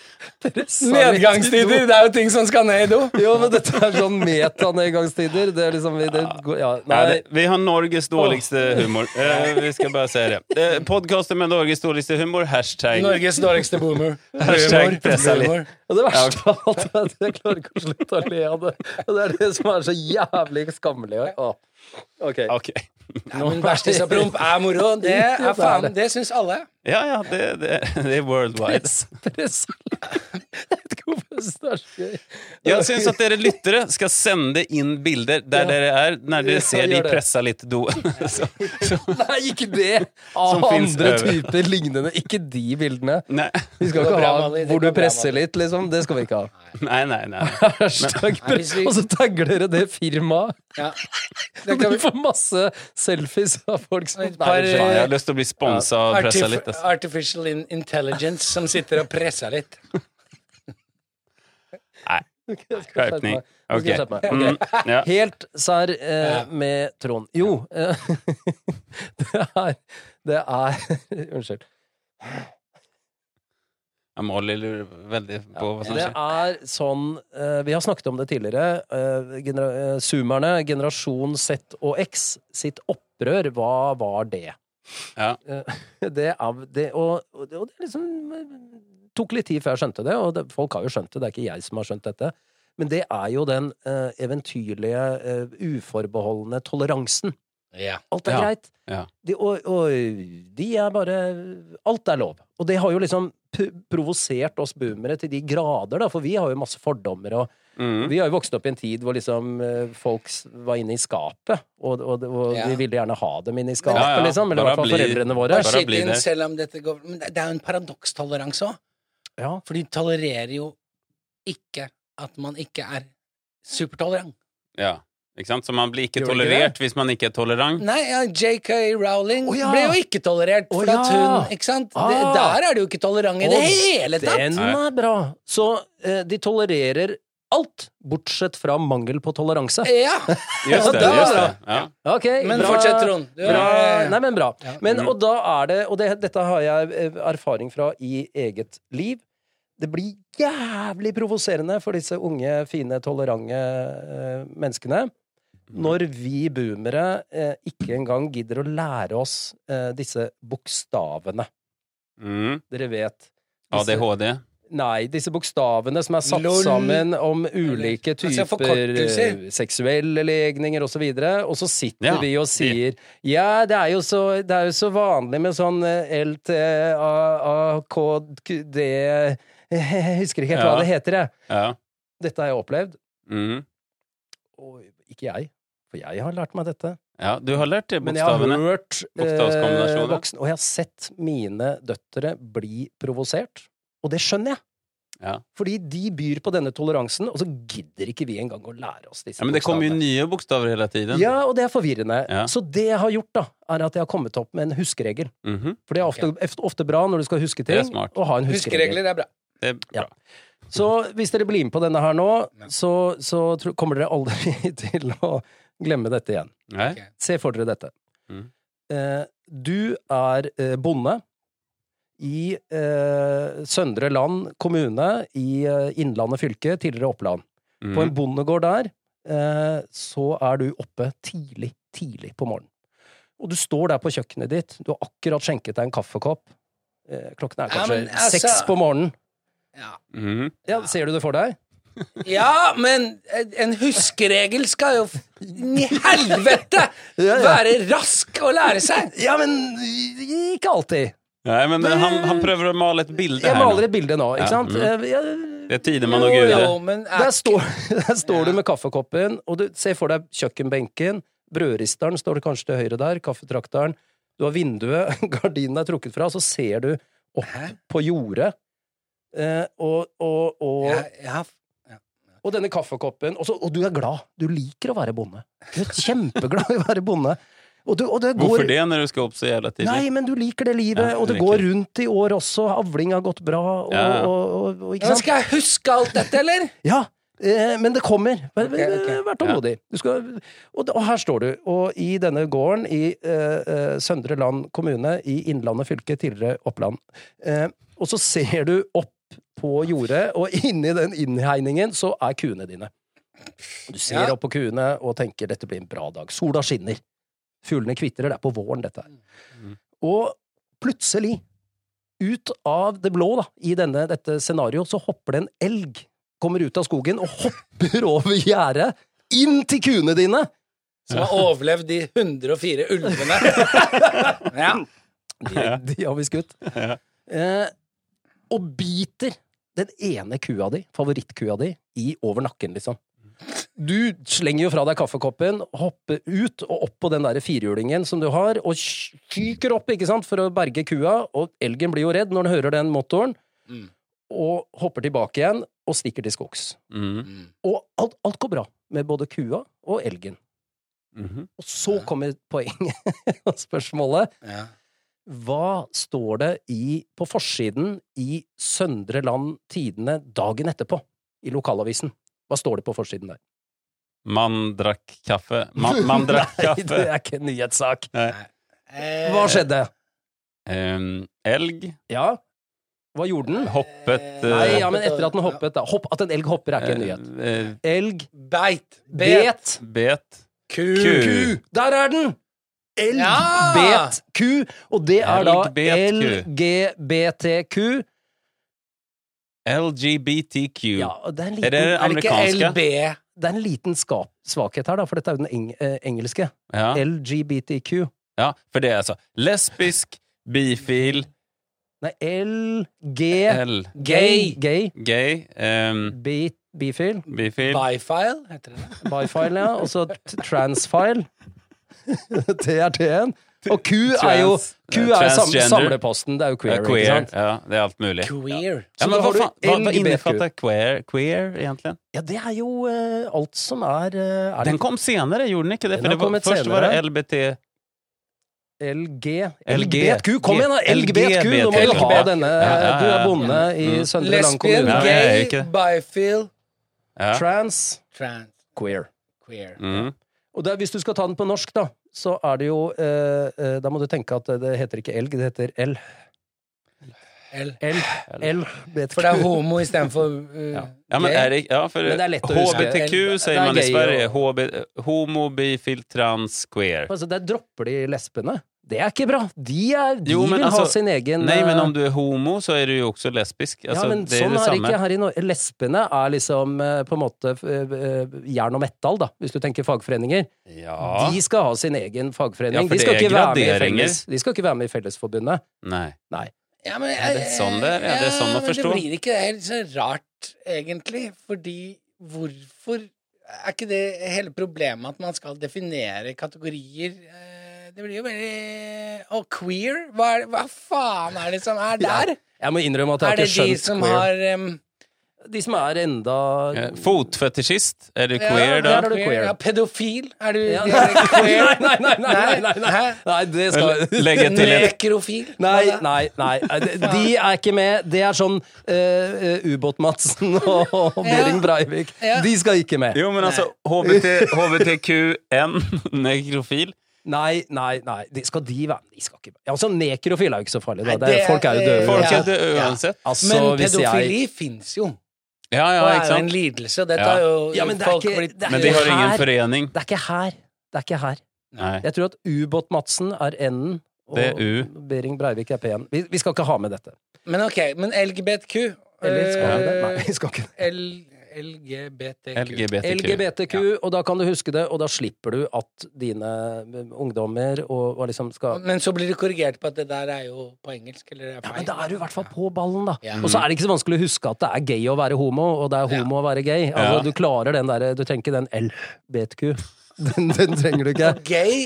Pressa litt i
Nedgangstider,
do.
det er jo ting som skal ned i do.
Jo, men dette er sånn metanedgangstider. Det er liksom det går, ja,
Nej,
nei.
det, vi har Norges dårligste humor. Eh, vi ska bara säga det. Eh, podcasten med Norges dårligste humor, hashtag.
Norges dårligste boomer.
Hashtag
Humor,
pressa litt.
humor.
Og det verste av alt er at jeg klarer ikke å slutte å le av det. Og det er det som er så jævlig skammelig. Å, ok.
Okej.
Ja, men Bæsjtiss og promp er moro. Det er faen, det syns alle.
Ja, ja, det, det, det er worldwide.
Pressa Jeg vet ikke hvorfor jeg synes det er så gøy.
Jag syns att dere lyttere skal sende inn bilder der dere er, når dere ser de
gjør det.
pressa litt do. Så, så,
Nei, ikke det! Av
Som finnes
andre
over.
typer lignende. Ikke de bildene.
nej,
Vi skal
går
ikke
bra,
ha
Mali, det
hvor
går
du
bra,
presser
Mali.
litt, liksom. Det skal vi ikke ha.
nej, nej, nej.
Hashtag
Nei, hvis
press,
vi-
og så tagger dere det firmaet.
Ja.
Og
Det kan
dere
vi
får masse selfies av folk som
Et par,
Nei,
Fan,
unnskyld.
jeg har lyst til å bli sponsa av pressa
Artif-
litt. ass.
Artificial in intelligence som sitter og presser litt.
Nei,
Jeg skal skjerpe
skjerpning.
meg. Jeg skal
Ok.
skjerpe meg. Ok.
Mm, ja.
Helt sær eh, med Trond. Jo, eh, det er Det er Unnskyld.
Ja, Molly lurer veldig på hva som
Det
skjer.
er sånn eh, Vi har snakket om det tidligere. eh, genera eh, Zoomerne, generasjon Z og X, sitt opprør, hva var det?
Ja.
Eh, det er, det, og, og det og det liksom eh, tok litt tid før jeg skjønte det, og det, folk har jo skjønt det, det er ikke jeg som har skjønt dette. Men det er jo den eh, eventyrlige, eh, uforbeholdne toleransen.
Ja.
Alt er
Ja.
greit.
Ja.
De, og, og de er bare Alt er lov. Og det har jo liksom p- provosert oss boomere til de grader, da, for vi har jo masse fordommer. og
Mm.
Vi har jo vokst opp i en tid hvor liksom eh, folk s- var inne i skapet, og, og, og
Ja.
vi ville gjerne ha dem inne i skapet,
Ja, ja.
liksom. Eller i
Bare
hvert fall
bli-
foreldrene
Det
våre.
er
Bare
shit
bli
inn,
der.
selv om dette går Men det det er jo en paradokstoleranse òg,
Ja.
for de tolererer jo ikke at man ikke er supertolerant.
Ja. Ikke sant? Så man blir ikke
Gjør det ikke
tolerert hvis man ikke er tolerant.
Nei, ja, JK Rowling
Å, ja.
ble jo ikke tolerert
Å,
for
ja.
at hun Ikke sant? Det,
Ah.
der er det jo ikke tolerant i det
Å,
hele tatt!
Den
Nei.
er bra! Så eh, de tolererer alt, bortsett fra mangel på toleranse.
Ja!
Just det,
da-
just det. Ja.
Ok,
Men
bra.
fortsett, Trond. Du
Bra.
er-
Nei, men bra.
Ja.
Men, og da er det Og det, dette har jeg eh, erfaring fra i eget liv. Det blir jævlig provoserende for disse unge, fine, tolerante eh, menneskene
Mm.
når vi boomere eh, ikke engang gidder å lære oss eh, disse bokstavene.
Mm.
Dere vet. Disse-
ADHD.
Nei, disse bokstavene som er satt
Lol.
sammen om ulike
Eller, altså,
typer
forkortelser.
eh, seksuelle legninger osv., og så sitter
Ja,
vi og sier Ja, det er jo så, det er jo så vanlig med sånn LTAKD Jeg husker ikke helt
Ja.
hva det heter, jeg.
Ja.
Dette har jeg opplevd.
Mm.
Og ikke jeg, for jeg har lært meg dette.
ja. Du har lært deg
Men jeg har
bokstavene.
hørt eh,
Bokstavskombinasjoner.
voksne Og jeg har sett mine døtre bli provosert. Og det skjønner jeg.
Ja.
Fordi de byr på denne toleransen, og så gidder ikke vi engang å lære oss disse
Ja, men det kommer jo nye bokstaver hele tiden.
Ja, og det er forvirrende.
Ja.
Så det jeg har gjort, da, er at jeg har kommet opp med en huskeregel.
Mhm.
For det er ofte, ofte bra når du skal huske
Det er
ting,
smart.
å ha en huskeregel.
Huskeregler er bra.
Det er bra.
Så hvis dere blir med på denne her nå, så, så tro, kommer dere aldri til å glemme dette igjen.
Nei?
Ok.
Se for dere dette.
Mm.
Eh, du er eh, bonde i eh, Søndre Land kommune i eh, Innlandet fylke, tidligere Oppland. På en
Mm.
bondegård der, eh, så er du oppe tidlig, tidlig på morgenen. Og du står der på kjøkkenet ditt, du har akkurat skjenket deg en kaffekopp. Eh, klokken er
Ja,
kanskje
men altså-
seks på morgenen.
Ja.
Mhm.
Ja, ser du det for deg?
Ja, men en huskeregel skal jo f- i helvete
Ja, ja.
være rask å lære seg!
Ja, men ikke alltid.
Nei, men han, han prøver å male et bilde
Jeg
her
maler
nå.
et bilde nå,
Ja,
ikke sant?
mm.
Eh, jeg-
Det er Tidemann og
Jo,
Gude.
Jo, men er,
Der står, der står du med kaffekoppen, og du ser for deg kjøkkenbenken. Brødristeren står kanskje til høyre der. Kaffetrakteren. Du har vinduet, gardinen er trukket fra, så ser du opp
Hæ?
på jordet. Eh, og, og, og,
ja, ja,
og denne kaffekoppen. Og, så, og du er glad. Du liker å være bonde. Du er kjempeglad i å være bonde. Og du, og det går,
Hvorfor det, når du skal opp så jævla tidlig?
Nei, men du liker det livet,
Ja,
og det
virkelig.
går rundt i år også. Avling har gått bra, og,
Ja, ja.
og, og, og ikke
Ja,
sant?
skal jeg huske alt dette, eller?
Ja, eh, men det kommer. Vær, eh,
Ok, ok.
vær tålmodig. Du skal, og, og her står du, og i denne gården i eh, eh, Søndre Land kommune i Innlandet fylke, tidligere Oppland. Eh, og så ser du opp på jordet, og inni den innhegningen så er kuene dine. Du ser
Ja.
opp på kuene og tenker 'dette blir en bra dag'. Sola skinner. Fuglene kvitrer. Det er på våren, dette her.
Mm.
Og plutselig, ut av det blå, da, i denne, dette scenarioet, så hopper det en elg. Kommer ut av skogen og hopper over gjerdet, inn til kuene dine!
Som har overlevd de 104 ulvene. Ja.
De, de har vi skutt.
Ja.
Eh, og biter den ene kua di, favorittkua di, i over nakken, liksom. Du slenger jo fra deg kaffekoppen, hopper ut og opp på den der firhjulingen som du har, og fyker opp ikke sant, for å berge kua, og elgen blir jo redd når den hører den motoren,
Mm.
og hopper tilbake igjen og stikker til skogs.
Mhm.
Mm.
Og alt, alt går bra med både kua og elgen.
Mhm.
Og så kommer poenget og spørsmålet.
Ja.
Hva står det i, på forsiden i Søndre Land Tidende dagen etterpå? I lokalavisen. Hva står det på forsiden der?
Man drakk kaffe. Man, man drakk
Nei, det
kaffe.
er ikke en nyhetssak.
Eh,
Hva skjedde?
Em, elg
Ja, hva gjorde den?
hoppet eh,
Nei, ja, men etter at den hoppet, da. Hopp, at en elg hopper er ikke en nyhet.
eh,
Elg
Beit. Bet.
bet
bet
Ku.
ku.
ku. Der er den! Elg
Ja!
bet ku, og det er da
Elg bet ku.
LGBTQ.
LGBTQ.
Ja, og det er en
Er
liten
det
Er det ikke
Amerikanske.
LB?
det er en liten skap, svakhet her, da, for dette er jo den eng eh, engelske.
Ja.
LGBTQ.
ja, for det er altså lesbisk, bifil,
Nei, LG...
L,
Gay. Gay.
gay, em,
Bi- Bifil.
bifil
Bifile, heter det.
Bifile, ja. Og så t- transfile. TRT-en. Og Q er jo
Trans-
Q er jo sam
transgender.
samleposten. Det er jo
eh,
queer, ikke
queer.
sant?
Ja, det er alt mulig.
Queer.
Ja,
Så
men
da
hva,
har du
faen, hva, hva
LGBTQ.
innefatter queer, queer, egentlig?
Ja, det er jo eh, alt som er eh, Er
Den kom senere, gjorde den ikke det?
Den har
For det var,
kommet
først var det
senere.
LBT
det LG...
LG.
LGBTQ! Kom igjen, da! LGBTQ! Nå må du ha
LGBT.
denne. eh,
Ja, ja, ja.
Du er bonde i
Mm.
Søndre Land
Lesbian,
kommune.
Nei, jeg er
gay,
ikke det.
bifile,
ja.
Trans.
trans,
Queer.
queer.
Mhm.
Og det, er- hvis du skal ta den på norsk, da, så er det jo eh, eh, Da må du tenke at det heter ikke elg, det heter L.
L.
L. L. vet
For det er
ikke.
homo istedenfor uh,
Ja. Ja, men,
gay.
er det, ja, for
Men det er lett å huske.
HBTQ
Det er
sier man i
gay
Sverige.
og-
HB, homo, bifil, trans, queer.
Altså, der dropper de lesbene. Det er ikke bra! De, er, de
Jo, men
vil
altså-
ha sin egen
Nei, men om
eh,
du er homo, så er du jo også lesbisk. Altså,
ja, men
det er
sånn er
det
det
samme.
ikke her i Norge. Lesbene er liksom eh, på en måte eh, eh, jern og metal, da, hvis du tenker fagforeninger.
Ja.
De skal ha sin egen fagforening.
Ja, for
de, skal
det er
ikke være med i
graderinger.
felles, de skal ikke være med i Fellesforbundet.
Nei.
Ja, men,
Er det sånn det er? Ja, det er sånn å
men
forstå.
Det blir ikke helt så rart, egentlig. Fordi hvorfor Er ikke det hele problemet at man skal definere kategorier? Eh, Det blir jo veldig Og queer? Hva, er, hva faen er det som er der?
Jeg må innrømme at jeg
Er
har
det
ikke
de
skjønt
som
queer.
har em,
De som er enda
Eh, Fotfetisjist, er du queer da?
der er du queer.
Ja, pedofil? Er du
Ja,
er du queer?
Nei, nei, nei, nei, nei, nei.
Hæ?
Nei, det skal
Eller legge til et
Nekrofil?
Nei,
Hva da?
nei, nei. De de er ikke med. Det er sånn eh, eh, Ubåt-Madsen og, og Behring Breivik.
Ja.
De skal ikke med.
Jo, men altså, HBT, HBTQN, nekrofil
Nei, nei, nei. De skal de være med? De skal ikke være med. Altså, nekrofil er jo ikke så farlig. Da.
Nei,
Det er,
det-
folk er jo
eh,
døde.
Folk
Ja.
er døde
Ja.
uansett.
Altså,
Men
hvis jeg-
pedofili fins jo.
Ja, ja,
Det er
ikke
jo en
sant?
lidelse. Dette
Ja.
er jo
Ja, men det er
folk
ikke-
blitt-
det er
Men de har
Her-
ingen forening.
Det er ikke her. Det er ikke her.
Nei.
Jeg tror at Ubåt-Madsen er N-en, og
Det er U.
Behring Breivik er P-en. Vi, vi skal ikke ha med dette.
Men ok, men LGBTQ
Eller skal vi det?
eh,
Nei, vi skal ikke
L- LGBTQ
LGBTQ.
LGBTQ, og da kan du huske det, og da slipper du at dine eh, ungdommer og, og liksom skal
Men så blir det korrigert på at det der er jo på engelsk, eller det er
ja,
feil.
men da er du i hvert fall på ballen, da.
Ja.
Og så er det ikke så vanskelig å huske at det er gay å være homo, og det er homo å være gay. Altså,
Ja.
Du klarer den derre Du trenger ikke den LBTQ. Den, den trenger du ikke.
Gay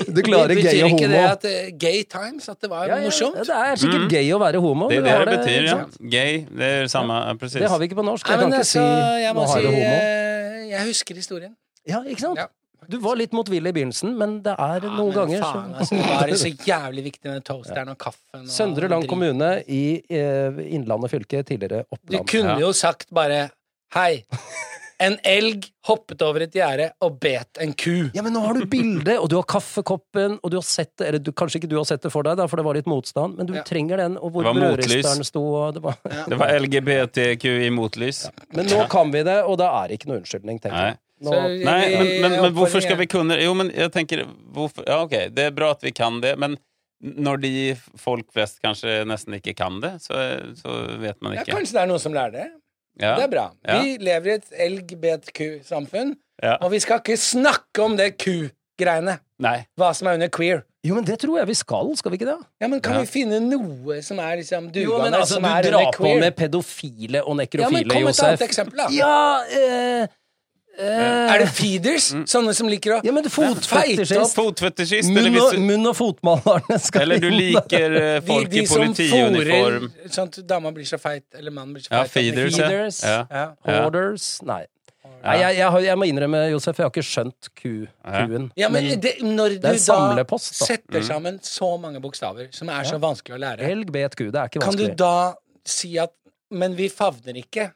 Du klarer
betyr
gay og
ikke det
homo.
at eh, gay times, at det var
Ja, ja,
morsomt?
det er sikkert gay å være homo.
Mm. Det er
men
det
har
det betyr,
ikke
ja.
sant?
Gay, det er det samme, ja, presis.
Det har vi ikke på norsk.
Nei,
Jeg
men
kan ikke
altså,
si
jeg må
nå
si
har du homo.
eh, Jeg husker historien.
Ja, ikke sant?
Ja.
Du var litt motvillig i begynnelsen, men det er
Ja,
noen
men
ganger
faen,
så-
altså, Da er det så jævlig viktig med toasteren og kaffen. Og
Søndre Land
drit.
kommune i eh, Innlandet fylke, tidligere
Du
Oppland.
Ja.
kunne jo sagt bare Hei, en elg hoppet over et gjerde og bet en ku.
Ja, men nå har du bildet, og du har kaffekoppen, og du har sett det Eller du, kanskje ikke du har sett det for deg, da, for det var litt motstand, men du
Ja.
trenger den, og hvor
Det var motlys.
brødristeren sto, og det var
Det var LGBTQ i motlys.
Men nå kan vi det, og da er det ikke noe unnskyldning, tenker jeg.
Nei.
Nå,
Så-
Nei, men, men, men hvorfor skal vi
Oppfordringen.
kunne Jo, men jeg tenker hvorfor, Ja, ok, det er bra at vi kan det, men når de folk flest kanskje nesten ikke kan det, så, så vet man
Ja,
ikke.
kanskje det er noen som lærer det. Det
Ja,
er bra.
Ja.
Vi lever i et LGBTQ-samfunn,
ja.
og vi skal ikke snakke om det ku-greiene.
Nei.
Hva som er under queer.
jo, men det tror jeg vi skal, skal vi ikke det?
Ja, men kan
Ja.
vi finne noe som er liksom
Jo, men
dugende,
altså,
som
du
er
drar
under
på
queer?
med pedofile og
ja, men
nekrofile,
kom med et
Josef.
annet eksempel, da.
Ja, eh, eh,
Er det feeders?
Mm.
Sånne som liker å
Ja, men fotfetisjist.
Fotfetisjist, eller
Munn og,
hvis du
munn- og fotmalerne skal
Eller du
inn der.
liker eh,
De,
folk
de
i
som fôrer
politiuniform.
Sånn at dama blir så feit, eller mannen blir så
Ja,
feit. at den
feeders,
ikke-
Feeders.
Ja.
Ja.
Ja.
Orders. Nei. Nei jeg, jeg, har- jeg må innrømme, Josef, jeg har ikke skjønt ku, kuen.
Ja, men det, når
er
du
en
da,
samlepost, da.
setter
Mm.
sammen så mange bokstaver, som er så vanskelig å lære,
Elg, bet, ku. Det er ikke
kan du
vanskelig.
da si at Men vi favner ikke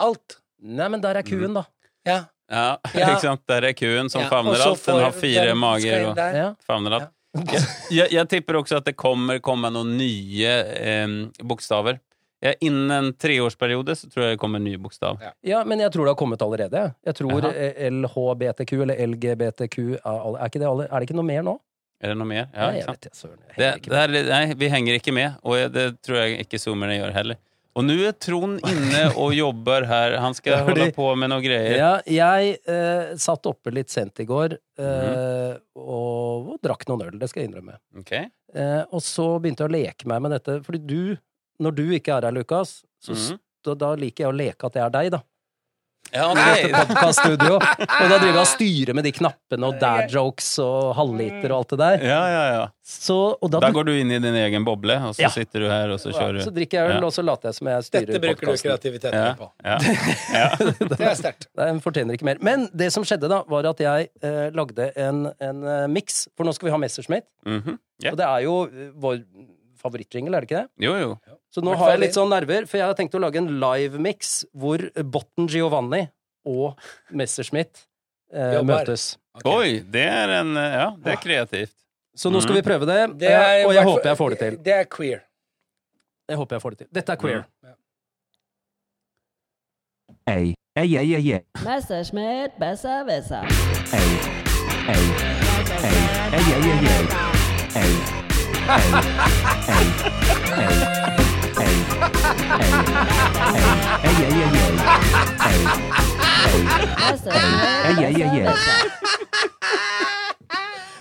alt.
Nei, men der er kuen, da.
Ja.
Ja,
Ja.
ikke sant? Der er kuen som
ja. og
favner
så
alt. Den
får
har fire
den skal
mager
inn
og
der.
Ja.
favner alt. Jeg, jeg, jeg tipper også at det kommer komme noen nye em, bokstaver. Ja, innen en treårsperiode så tror jeg det kommer en ny bokstav.
Ja.
ja, men jeg tror det har kommet allerede. Jeg tror
Jaha.
eh, LHBTQ eller LGBTQ er, all- er, ikke det, alle- er det ikke noe mer nå?
Er det noe mer? Ja,
Nei, jeg
ikke sant?
vet det, søren. Jeg
Det,
henger ikke
det er, nei, vi henger ikke med, og jeg- det tror jeg ikke zoomerne gjør heller. Og nå er Trond inne og jobber her. Han skal
Fordi-
holde på med noe greier.
Ja, jeg eh, satt oppe litt sent i går
Mhm.
eh, og, og drakk noen øl, det skal jeg innrømme.
Ok?
Eh, og så begynte jeg å leke meg med dette, fordi du, når du ikke er her, Lukas, så s-
Mhm.
da, da liker jeg å leke at det er deg, da.
Ja, nei,
Podkaststudio. og da driver jeg og styrer med de knappene og dad jokes og halvliter og alt det der.
ja, ja, ja.
Så, og da,
Da går du inn i din egen boble, og så
Ja.
sitter du her, og så kjører
så
du.
drikker jeg øl,
Ja.
og så later jeg som jeg
Dette
styrer
bruker du
podkasten.
kreativiteten
Ja,
din på.
ja.
Det er sterkt.
Den fortjener ikke mer. Men det som skjedde, da, var at jeg eh, lagde en, en eh, miks, for nå skal vi ha Messerschmitt.
Mhm. Ja.
Og det er jo eh, vår favorittjingle, er det ikke det?
Jo, jo.
Så nå
Hvert
har
fall
jeg litt sånn nerver, for jeg har tenkt å lage en live-mix hvor Botten Giovanni og Messerschmitt eh,
Jobber.
møtes.
Ok.
Oi, det er en Ja, det er kreativt.
Så nå skal vi prøve Mm. det,
Det er-
eh, og jeg håper jeg får det til. Mm.
Det er queer.
Jeg håper jeg får det til. Dette er queer.
Ey, ey, ey, ey, ey,
Messerschmidt, besser, besser.
ey, ey, ey, ey, ey, ey, ey, ey, ey, ey, ey, ey, ey, ey, ey, ey,
Messerschmidt,
ey, ey, ey, ey, ey.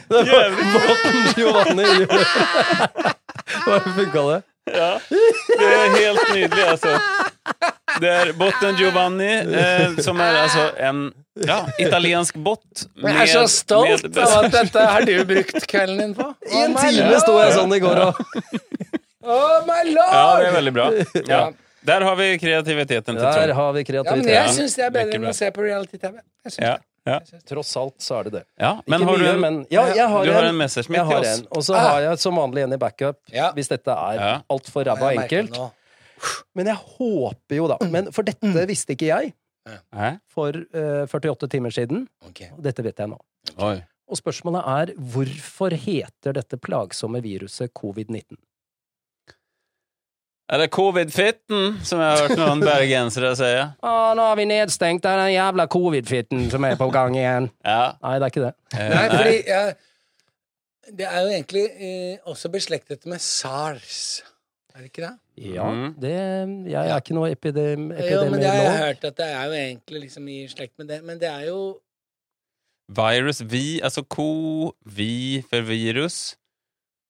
Det var Botten Giovanni Hvordan funka det?
Det er helt nydelig, altså. Det er Botten Giovanni, eh, som er altså en ja, italiensk bot.
Jeg er så
med-
stolt
med-
av at dette har du brukt kvelden din på. Oh
En
my
time
lord.
sto jeg sånn i går og
Oh my
Ja, det er
lord!
veldig bra. Ja. Der har vi kreativiteten til
Der
Trond.
har vi
Ja, men jeg
kreativitet.
syns det er bedre
Veldig
enn
bra.
å se på reality-TV. Jeg syns
Ja.
det.
Ja.
Tross alt så er det det.
ja. Men
Ikke
har du
mye,
en
men Ja, jeg har
du har en
en.
Messerschmitt
Jeg
til
har
oss?
en. Og så har jeg som vanlig en i backup,
Ja.
hvis dette er
Ja.
altfor ræva
Jeg merker det
enkelt.
nå.
Men jeg håper jo da
Mm.
men For dette visste ikke jeg
Hæ?
for eh, 48 timer siden.
Ok.
og Dette vet jeg nå.
Oi.
Og spørsmålet er hvorfor heter dette plagsomme viruset covid-19?
Er det covid-fitten, som jeg har hørt noen bergensere si?
Å, nå er vi nedstengt, det er den jævla covid-fitten som er på gang igjen.
Ja.
Nei, det er ikke det.
Eh,
Nei, fordi jeg, Det er jo egentlig eh, også beslektet med sars. Er det ikke det?
Ja,
Mm.
det Jeg er ikke noe epidem,
Jo, men det har jeg
epidemiolog.
hørt at det er jo egentlig liksom i slekt med det. Men det er jo
Virus, vi, altså ko, vi for virus.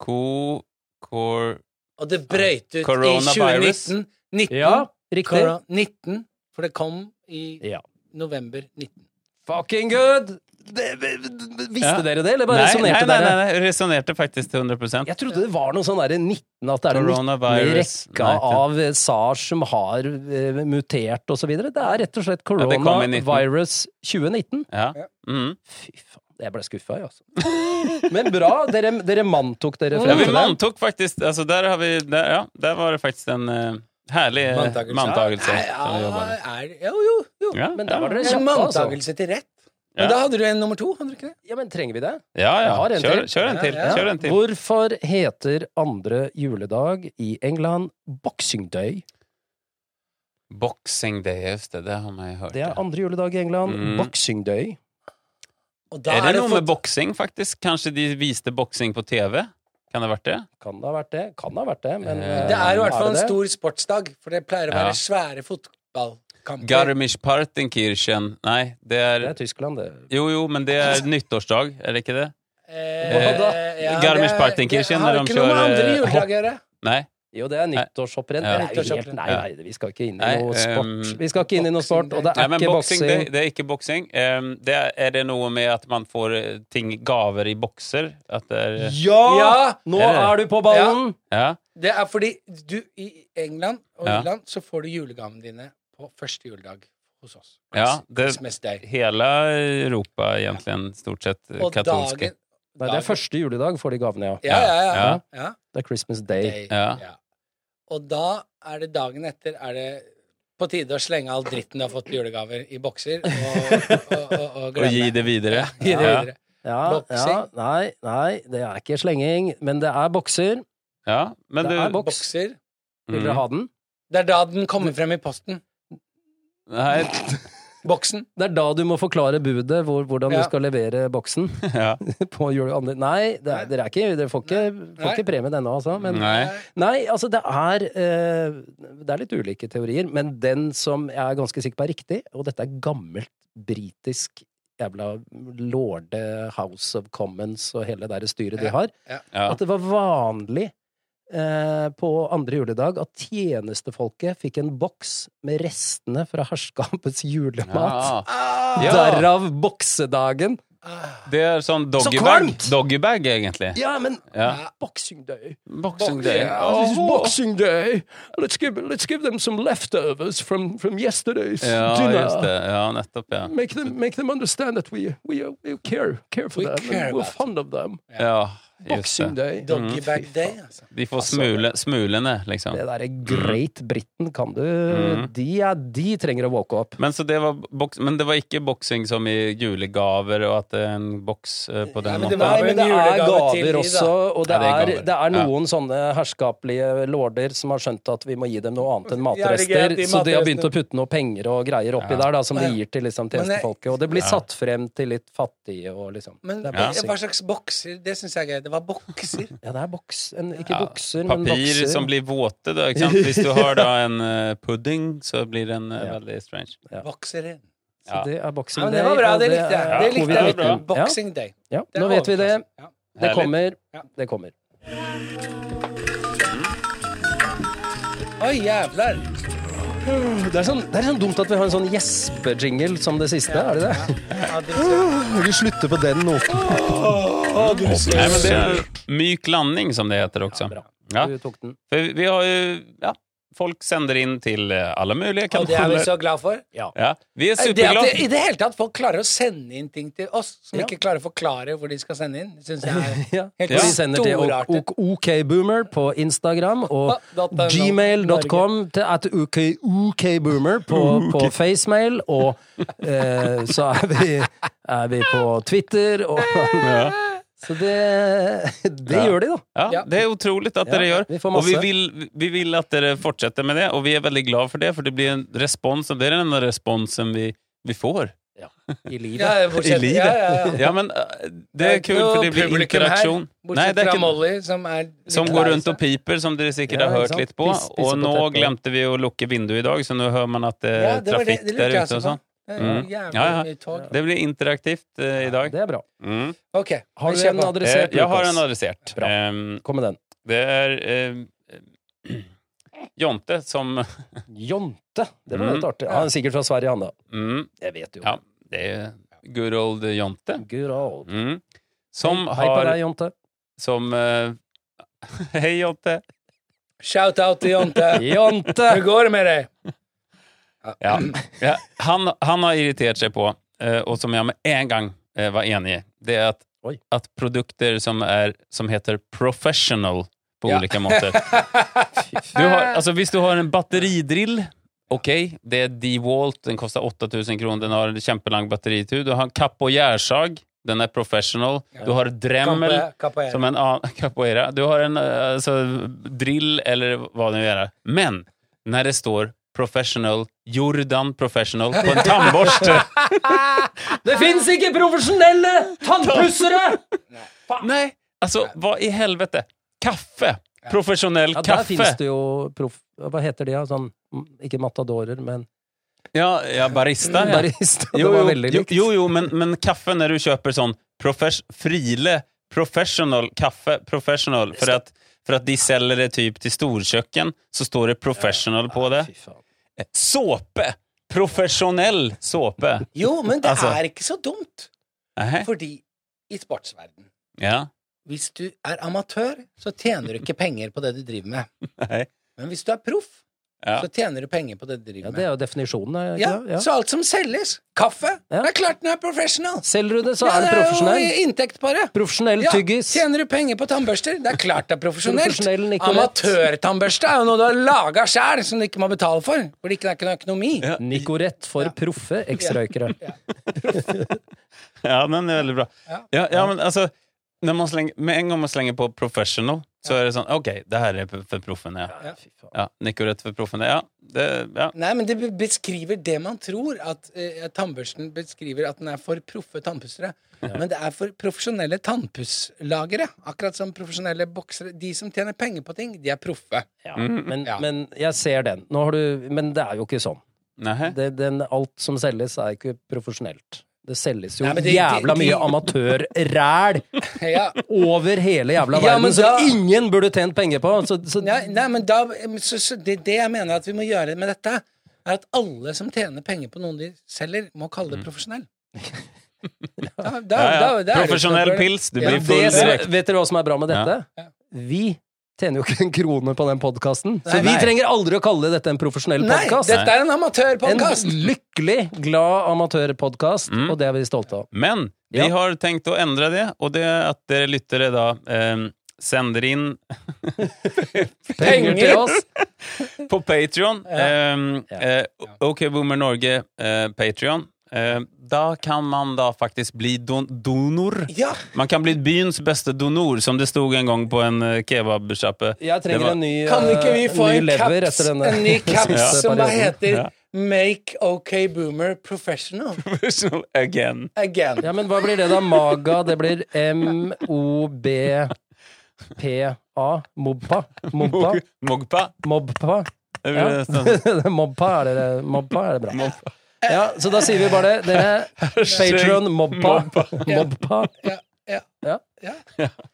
Ko, kor
Og det brøyt ut i
Coronavirus.
2019. 19,
Ja, riktig.
Koro- 19, for det kom i
Ja.
november 19.
Fucking good! det, visste
Ja.
dere det, eller bare
Nei, nei,
resonnerte
nei,
dere?
nei, nei, resonerte faktisk til 100
Jeg trodde det var noe sånn der 19, at det er den 19. i
Coronavirus,
rekka
nei, det-
av eh, SARS som har eh, mutert og så videre. Det er rett og slett
Ja, det kom i 19.
coronavirus 2019.
Ja. Mm.
Fy faen, jeg ble skuffa, jeg, altså. Men bra, dere, dere manntok dere
Ja,
frem
vi
til det.
manntok faktisk altså der, har vi, der, ja, der var det faktisk en eh, herlig eh,
Manntagelse.
manntagelse.
Nei, ja,
som vi jobbet med.
er, jo, jo, jo.
Ja,
Men der
ja.
var dere
En
kjappe, altså.
manntagelse til rett. Men
Ja.
da hadde du en nummer to, hadde du ikke det?
Ja, men trenger vi det?
Ja,
Jeg har
ja.
en
Kjør,
til.
kjør en til.
Ja, ja.
Kjør en til.
Hvorfor heter andre juledag i England boxing day?
Boxing day, just det. Det har man jo hørt.
Det
ja.
er andre juledag i England.
Mm.
Boxing day.
Og da
Er det noe
fått-
med boksing, faktisk? Kanskje de viste boksing på TV? Kan det ha vært det?
Kan det ha vært det? Kan det ha vært det, men
Eh,
eh,
Det er i hvert fall en
det det?
stor sportsdag, for det pleier å
Ja.
være svære fotballkamper.
Garmisch Partenkirchen Nei, det er
Det er Tyskland, det.
Jo, jo, men det er nyttårsdag, er det ikke det?
Eh,
Hva da?
ja,
Garmisch-Partenkirchen,
det- Det
når
har
de
ikke noe med
kjører,
andre
eh,
juledag å gjøre.
Nei?
Jo, det er nyttårshopprenn.
Ja.
Det er jo helt-
Nyttårshopprenn.
Nei, nei, vi skal ikke inn i
Nei,
noe
ehm,
sport. Vi skal ikke inn i noe sport, og det
Nei,
er
men
ikke
boxing, det,
boksing.
det er ikke boksing. Ehm, det er, er det noe med at man får eh, ting, gaver i bokser? At det er
Ja!
Ja!
Nå
Er det?
er du på ballen!
Ja?
Det er fordi du i England og
Ja.
Irland så får du julegavene dine på første juledag hos oss.
Ja, Eh, det-
Christmas Day.
Hele Europa, egentlig, stort sett eh,
Og
katolske.
dagen
Nei, det er første juledag får de gavene, ja.
Ja, ja, ja. ja.
Ja.
ja.
Det er Christmas Day.
Day.
Ja.
Ja. Og da er det dagen etter er det på tide å slenge all dritten du har fått i julegaver, i bokser, og, og, og, og
Og gi
glemme.
det videre.
Gi det
Ja.
videre.
Ja, ja,
Boksing.
nei, nei, det er ikke slenging, men det er bokser.
Ja, men
Det er
du
boks.
Bokser.
Vil dere
Mm.
ha den?
Det er da den kommer frem i posten.
Nei,
Boksen.
Det er da du må forklare budet, hvor, hvordan
Ja.
du skal levere boksen.
ja.
på jule... andre- Nei, det er, dere er ikke Dere får ikke, får
Nei.
ikke premie denne, altså. Men,
Nei.
Nei, altså det er eh, Det er litt ulike teorier, men den som jeg er ganske sikker på er riktig, og dette er gammelt britisk jævla lorde House of Commons og hele det der styret de
Ja,
har,
Ja.
at det var vanlig eh, på andre juledag at tjenestefolket fikk en boks med restene fra herskapets julemat.
Ja.
Ah,
Ja.
Derav boksedagen.
ah.
Det er sånn doggybag,
kvalmt!
doggybag egentlig.
Ja, men
Ja.
Boxing day.
Boxing day.
Yeah, this is
Åh.
boxing day. Let's give, let's give them some leftovers from, from yesterday's
Ja,
dinner.
just det. Ja, nettopp, ja.
Make them, make them understand that we, we, uh, we care, care for
We
them.
care
and we're
about
fond of them.
ja just
Boxing
det.
Mm.
day.
Mm.
Doggybag day, altså.
De får smule, smulene, liksom.
Det derre Great Britain kan du de, er, de trenger å walke opp.
Men, så det var boks, men det var ikke boksing som i julegaver og at det er en boks eh, på den
Ja, men det
måten?
var-
Nei, men det er
en julegave til de,
gaver
da.
også, og det
Ja, det
er,
er gaver.
det er noen sånne herskapelige lorder som har skjønt at vi må gi dem noe annet enn
Ja, det er greit,
matrester,
de
så de har begynt å
matrestene.
putte noe penger og greier oppi
Ja.
der, da, som de
Men-
gir til liksom,
Men jeg-
tjenestefolket. Og det blir satt frem til litt fattige og liksom
Men
Det er
Ja.
boksing.
hva slags bokser? Det syns jeg er gøy. Det var bokser.
Ja, det er boks... En, ikke
Ja,
bokser, men
Papir
bokser.
som blir våte, da. Ikke sant? Hvis du har da en eh, pudding, så blir den eh, veldig strange.
Bokseren.
Så det er boksing.
Ja, men det var bra. Det likte jeg.
er
Det likte jeg.
det
covid-19.
er
Ja,
Boxing day.
ja.
Det er
Nå vet vi det.
overklassen. Ja.
Det
Herlig.
kommer.
Ja.
Det kommer.
Oi, jævler.
Det er, sånn, det er sånn dumt at vi har en sånn gjespejingle som det siste, er det det?
Ja, det-
Vi slutter på den nå.
Nei, men det er myk landing, som det heter også.
bra.
Ja,
Du tok den.
for vi har jo ja, Folk sender inn til eh, alle mulige
Og det er vi
kanaler.
så glad for.
Ja, vi er
Det at det, I
superglade.
det hele tatt folk klarer å sende inn ting til oss som
Ja.
ikke klarer å forklare hvor de skal sende inn, syns jeg
Ja.
er helt
Og Vi sender til
storartet.
ok- okboomer på Instagram og
Ah, dot-
gmail.com til at ok- okboomer på, på facemail, og eh, så er vi, er vi på Twitter og
Ja.
Så det, det gjør de, da.
Ja,
Ja.
det er utrolig at dere
Ja,
gjør.
vi får
og vi
masse.
vil, vi vil at dere fortsetter med det, og vi er veldig glad for det, for det blir en respons, og det er den enda responsen vi, vi får.
I
Ja,
livet.
bortsett-
I livet.
Ja, ja, ja.
Ja, men eh, det er kult, for det blir
Publikum her,
interaksjon. Nei,
Bortsett
det er
fra
ikke,
Molly, som er litt
som
lei
går rundt
seg.
og piper, som dere sikkert
Ja,
har
ikke
hørt
sant?
litt på.
Piss-
og
pisser på
nå
teppet.
glemte vi å lukke vinduet i dag, så nå hører man at det er
Ja, det var det-
eh, trafikk
det lurte
der
jeg
ute
også
og sånn.
på. Det er
Mm.
jævlig
Ja, ja.
mye tog.
Det blir interaktivt eh, i dag.
Det er bra.
Mm.
Ok,
Har
vi
du
kjører
en
på.
Eh,
adressert?
jeg har
Lukas?
en adressert.
Bra.
Ehm,
Kom med den.
det er eh, Jonte som
Jonte. Det var
Mm.
litt artig. Han er sikkert fra Sverige, han da.
mm,
Jeg vet jo.
Ja, det er Good old Jonte.
Good old.
Mm. Som
Hei på
har
deg, Jonte.
Som eh, Hei, Jonte.
Shout-out til Jonte.
Jonte!
Hvordan går det med deg?
Ja. Ja, han, han har irritert seg på, eh, og som jeg med en gang eh, var enig i, det er at,
Oj.
at produkter som, er, som heter professional på
Ja.
olika måter du har, alltså, Hvis du har en batteridrill, okej, det er DeWalt, den koster 8000 kroner, den har en kjempelang batteritur. Du har en kapp- og gjærsag, den er professional. Du har dremmel,
Kampe- kapoeira.
som en annen capoeira. Du har en eh, altså, drill eller hva det nu är. Men när det står professional, Jordan professional på en tandborste.
Det fins ikke profesjonelle tannpussere!
Nej, alltså vad i helvete? Kaffe! Profesjonell
Ja, der
kaffe!
fins det jo proff... Hva heter de, da? Sånn, ikke matadorer, men
Ja, ja, barista. Ja.
Mm. barista.
Jo,
det
jo,
var veldig
jo,
likt.
jo, jo men, men kaffe når du kjøper sånn profes, Friele professional kaffe professional for at, for at de selger det typ til storkjøkken, så står det professional på det.
Ah, Fy faen.
Såpe! Profesjonell såpe.
Jo, men det
Altså.
er ikke så dumt.
Nähä,
Fordi i sportsverden
Ja.
hvis du er amatør, så tjener du ikke penger på det du driver med.
Nei.
Men hvis du er proff,
Ja.
så tjener du penger på det
Ja,
du driver
det
med.
er jo definisjonen. Er det
Ja,
ikke det?
Så alt som selges Kaffe!
Ja.
Det er klart den er professional!
ja. Selger du det, så
Ja,
er
det
det
er
profesjonell.
jo inntekt, bare.
Profesjonell
Ja,
tyggis.
tjener du penger på tannbørster? Det er klart det er profesjonelt.
Profesjonell Nicorette.
Amatørtannbørste er jo noe du har laga sjæl, som du ikke må betale for. For det ikke er ikke noe økonomi.
Nicorette for proffe ekstrarøykere.
ja, den er veldig bra.
Ja.
Ja, ja, men altså när man slänger, Med en gang man slenger på professional, så er det sånn OK, det her er for proffene. Ja.
Ja.
Ja, Nicorette for proffene. Ja, det, ja.
Nei, men det be- beskriver det man tror. At eh, tannbørsten beskriver at den er for proffe tannpussere. Men det er for profesjonelle tannpusslagere. Akkurat som profesjonelle boksere. De som tjener penger på ting, de er proffe.
Ja, men,
Ja.
men jeg ser den. Nå har du, men det er jo ikke sånn.
Nähä.
Det, den, alt som selges, er ikke profesjonelt. Det selges jo
Nei, men det-
jævla
de- de-
mye amatørræl
Ja.
over hele jævla
Ja,
verden
men
som
da-
ingen burde tjent penger på. Så, så,
Nei, nei, men da så, så det, det jeg mener at vi må gjøre med dette, er at alle som tjener penger på noen de selger, må kalle det profesjonell. Da- da-
Ja, ja.
da- da er det
Profesjonell
ikke noe-
pils, du
Ja,
blir
det
full
det som,
direkte.
vet dere hva som er bra med dette?
Ja.
Vi tjener jo ikke en krone på den podkasten. Så
Nei,
vi
nei.
trenger aldri å kalle dette en profesjonell
Nei,
podkast.
dette er en
En
amatørpodkast!
lykkelig, glad amatørpodkast,
Mm.
og det er vi stolte av.
Men vi
Ja.
har tenkt å endre det, og det er at dere lyttere da eh, sender inn
Penger til oss!
på Patrion.
Ja.
OK Boomer Norge, eh, Patrion. Eh, da kan man da faktisk bli don donor.
Ja,
Man kan bli byens beste donor, som det stod en gang på en eh, kebabsjappe.
Jeg
Det
trenger
var-
en ny
kan ikke vi
eh,
få
ny
en
lever
caps,
etter denne
en ny caps som bare
perioden.
heter
Ja.
Make OK Boomer Professional
Personal again.
Again?
Ja, men hva blir det da? Maga, det blir M-O-B-P-A. Mobpa. Mobpa.
Mog- Mogpa.
Mobpa.
Det blir
Ja.
nesten-
Mobpa er det, mobpa er det bra. Ja, så da sier vi bare det. Dere, Patron, mobpa. Mobpa.
Ja, ja,
Ja.
ja.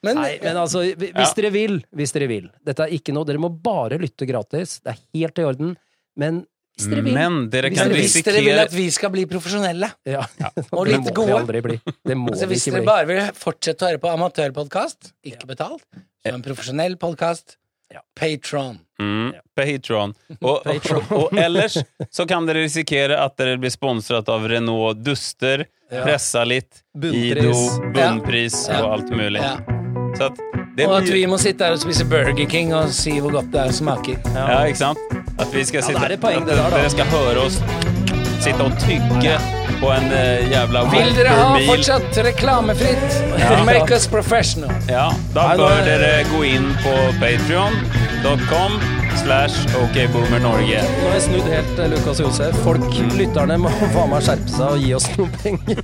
Men,
Nei, men altså, hvi- hvis dere vil, hvis dere vil. Dette er ikke noe, dere må bare lytte gratis. Det er helt i orden. Men hvis dere vil
Men dere
Hvis
kan
dere-
hvis dere vil
risikere
at vi skal bli profesjonelle
ja.
Og
Det
litt
må vi
gode.
aldri bli. Det må
Altså,
vi
hvis
ikke
dere
bli.
bare vil fortsette å høre på amatørpodkast, ikke betalt, så en profesjonell podkast,
Ja.
Patron.
Mm, Patron. Og, og, og ellers så kan dere risikere at dere blir sponset av Renault Duster, pressa litt,
Bunnpris.
Ido, bunnpris og alt mulig.
Ja.
Så at det
Og at vi
blir
må sitte her og spise Burger King og si hvor godt det er smaker.
Ja, ikke sant? At vi skal sitte
da er det poeng
At
det der, da.
dere skal høre oss sitte og tygge på en eh, jævla
Vil dere ha
Whopper-mil.
fortsatt reklamefritt?
Ja.
Make us professional.
Ja, da
Nei, nå
bør
er-
dere gå inn på patreon.com slash okboomernorge.
Nå har jeg snudd helt eh, Lukas Josef. Folk,
Mm.
lytterne, må faen meg skjerpe seg og gi oss noen penger.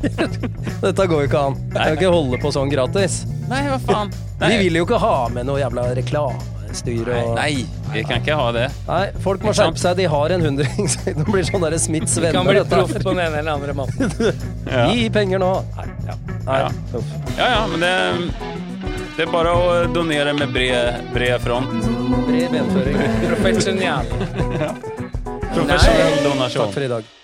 Dette går jo ikke an. Vi kan ikke holde på sånn gratis.
Nei, hva faen? Nei,
Vi vil jo ikke ha med noe jævla reklamestyr og
Nei, vi kan ikke ha det.
Nei, folk må
Ikke
skjerpe
sant?
seg. De har en hundring. så Det blir sånn derre Smiths
Kan
venner.
bli
dette
proff
her.
på den ene eller andre måten.
Ja.
Gi penger nå. Nei, ja. Nei.
Ja. Ja, ja, men det, det er bare å donere med bred, bred front.
Bred benføring.
Profesjonell.
Profesjonell donasjon.
Takk for i dag.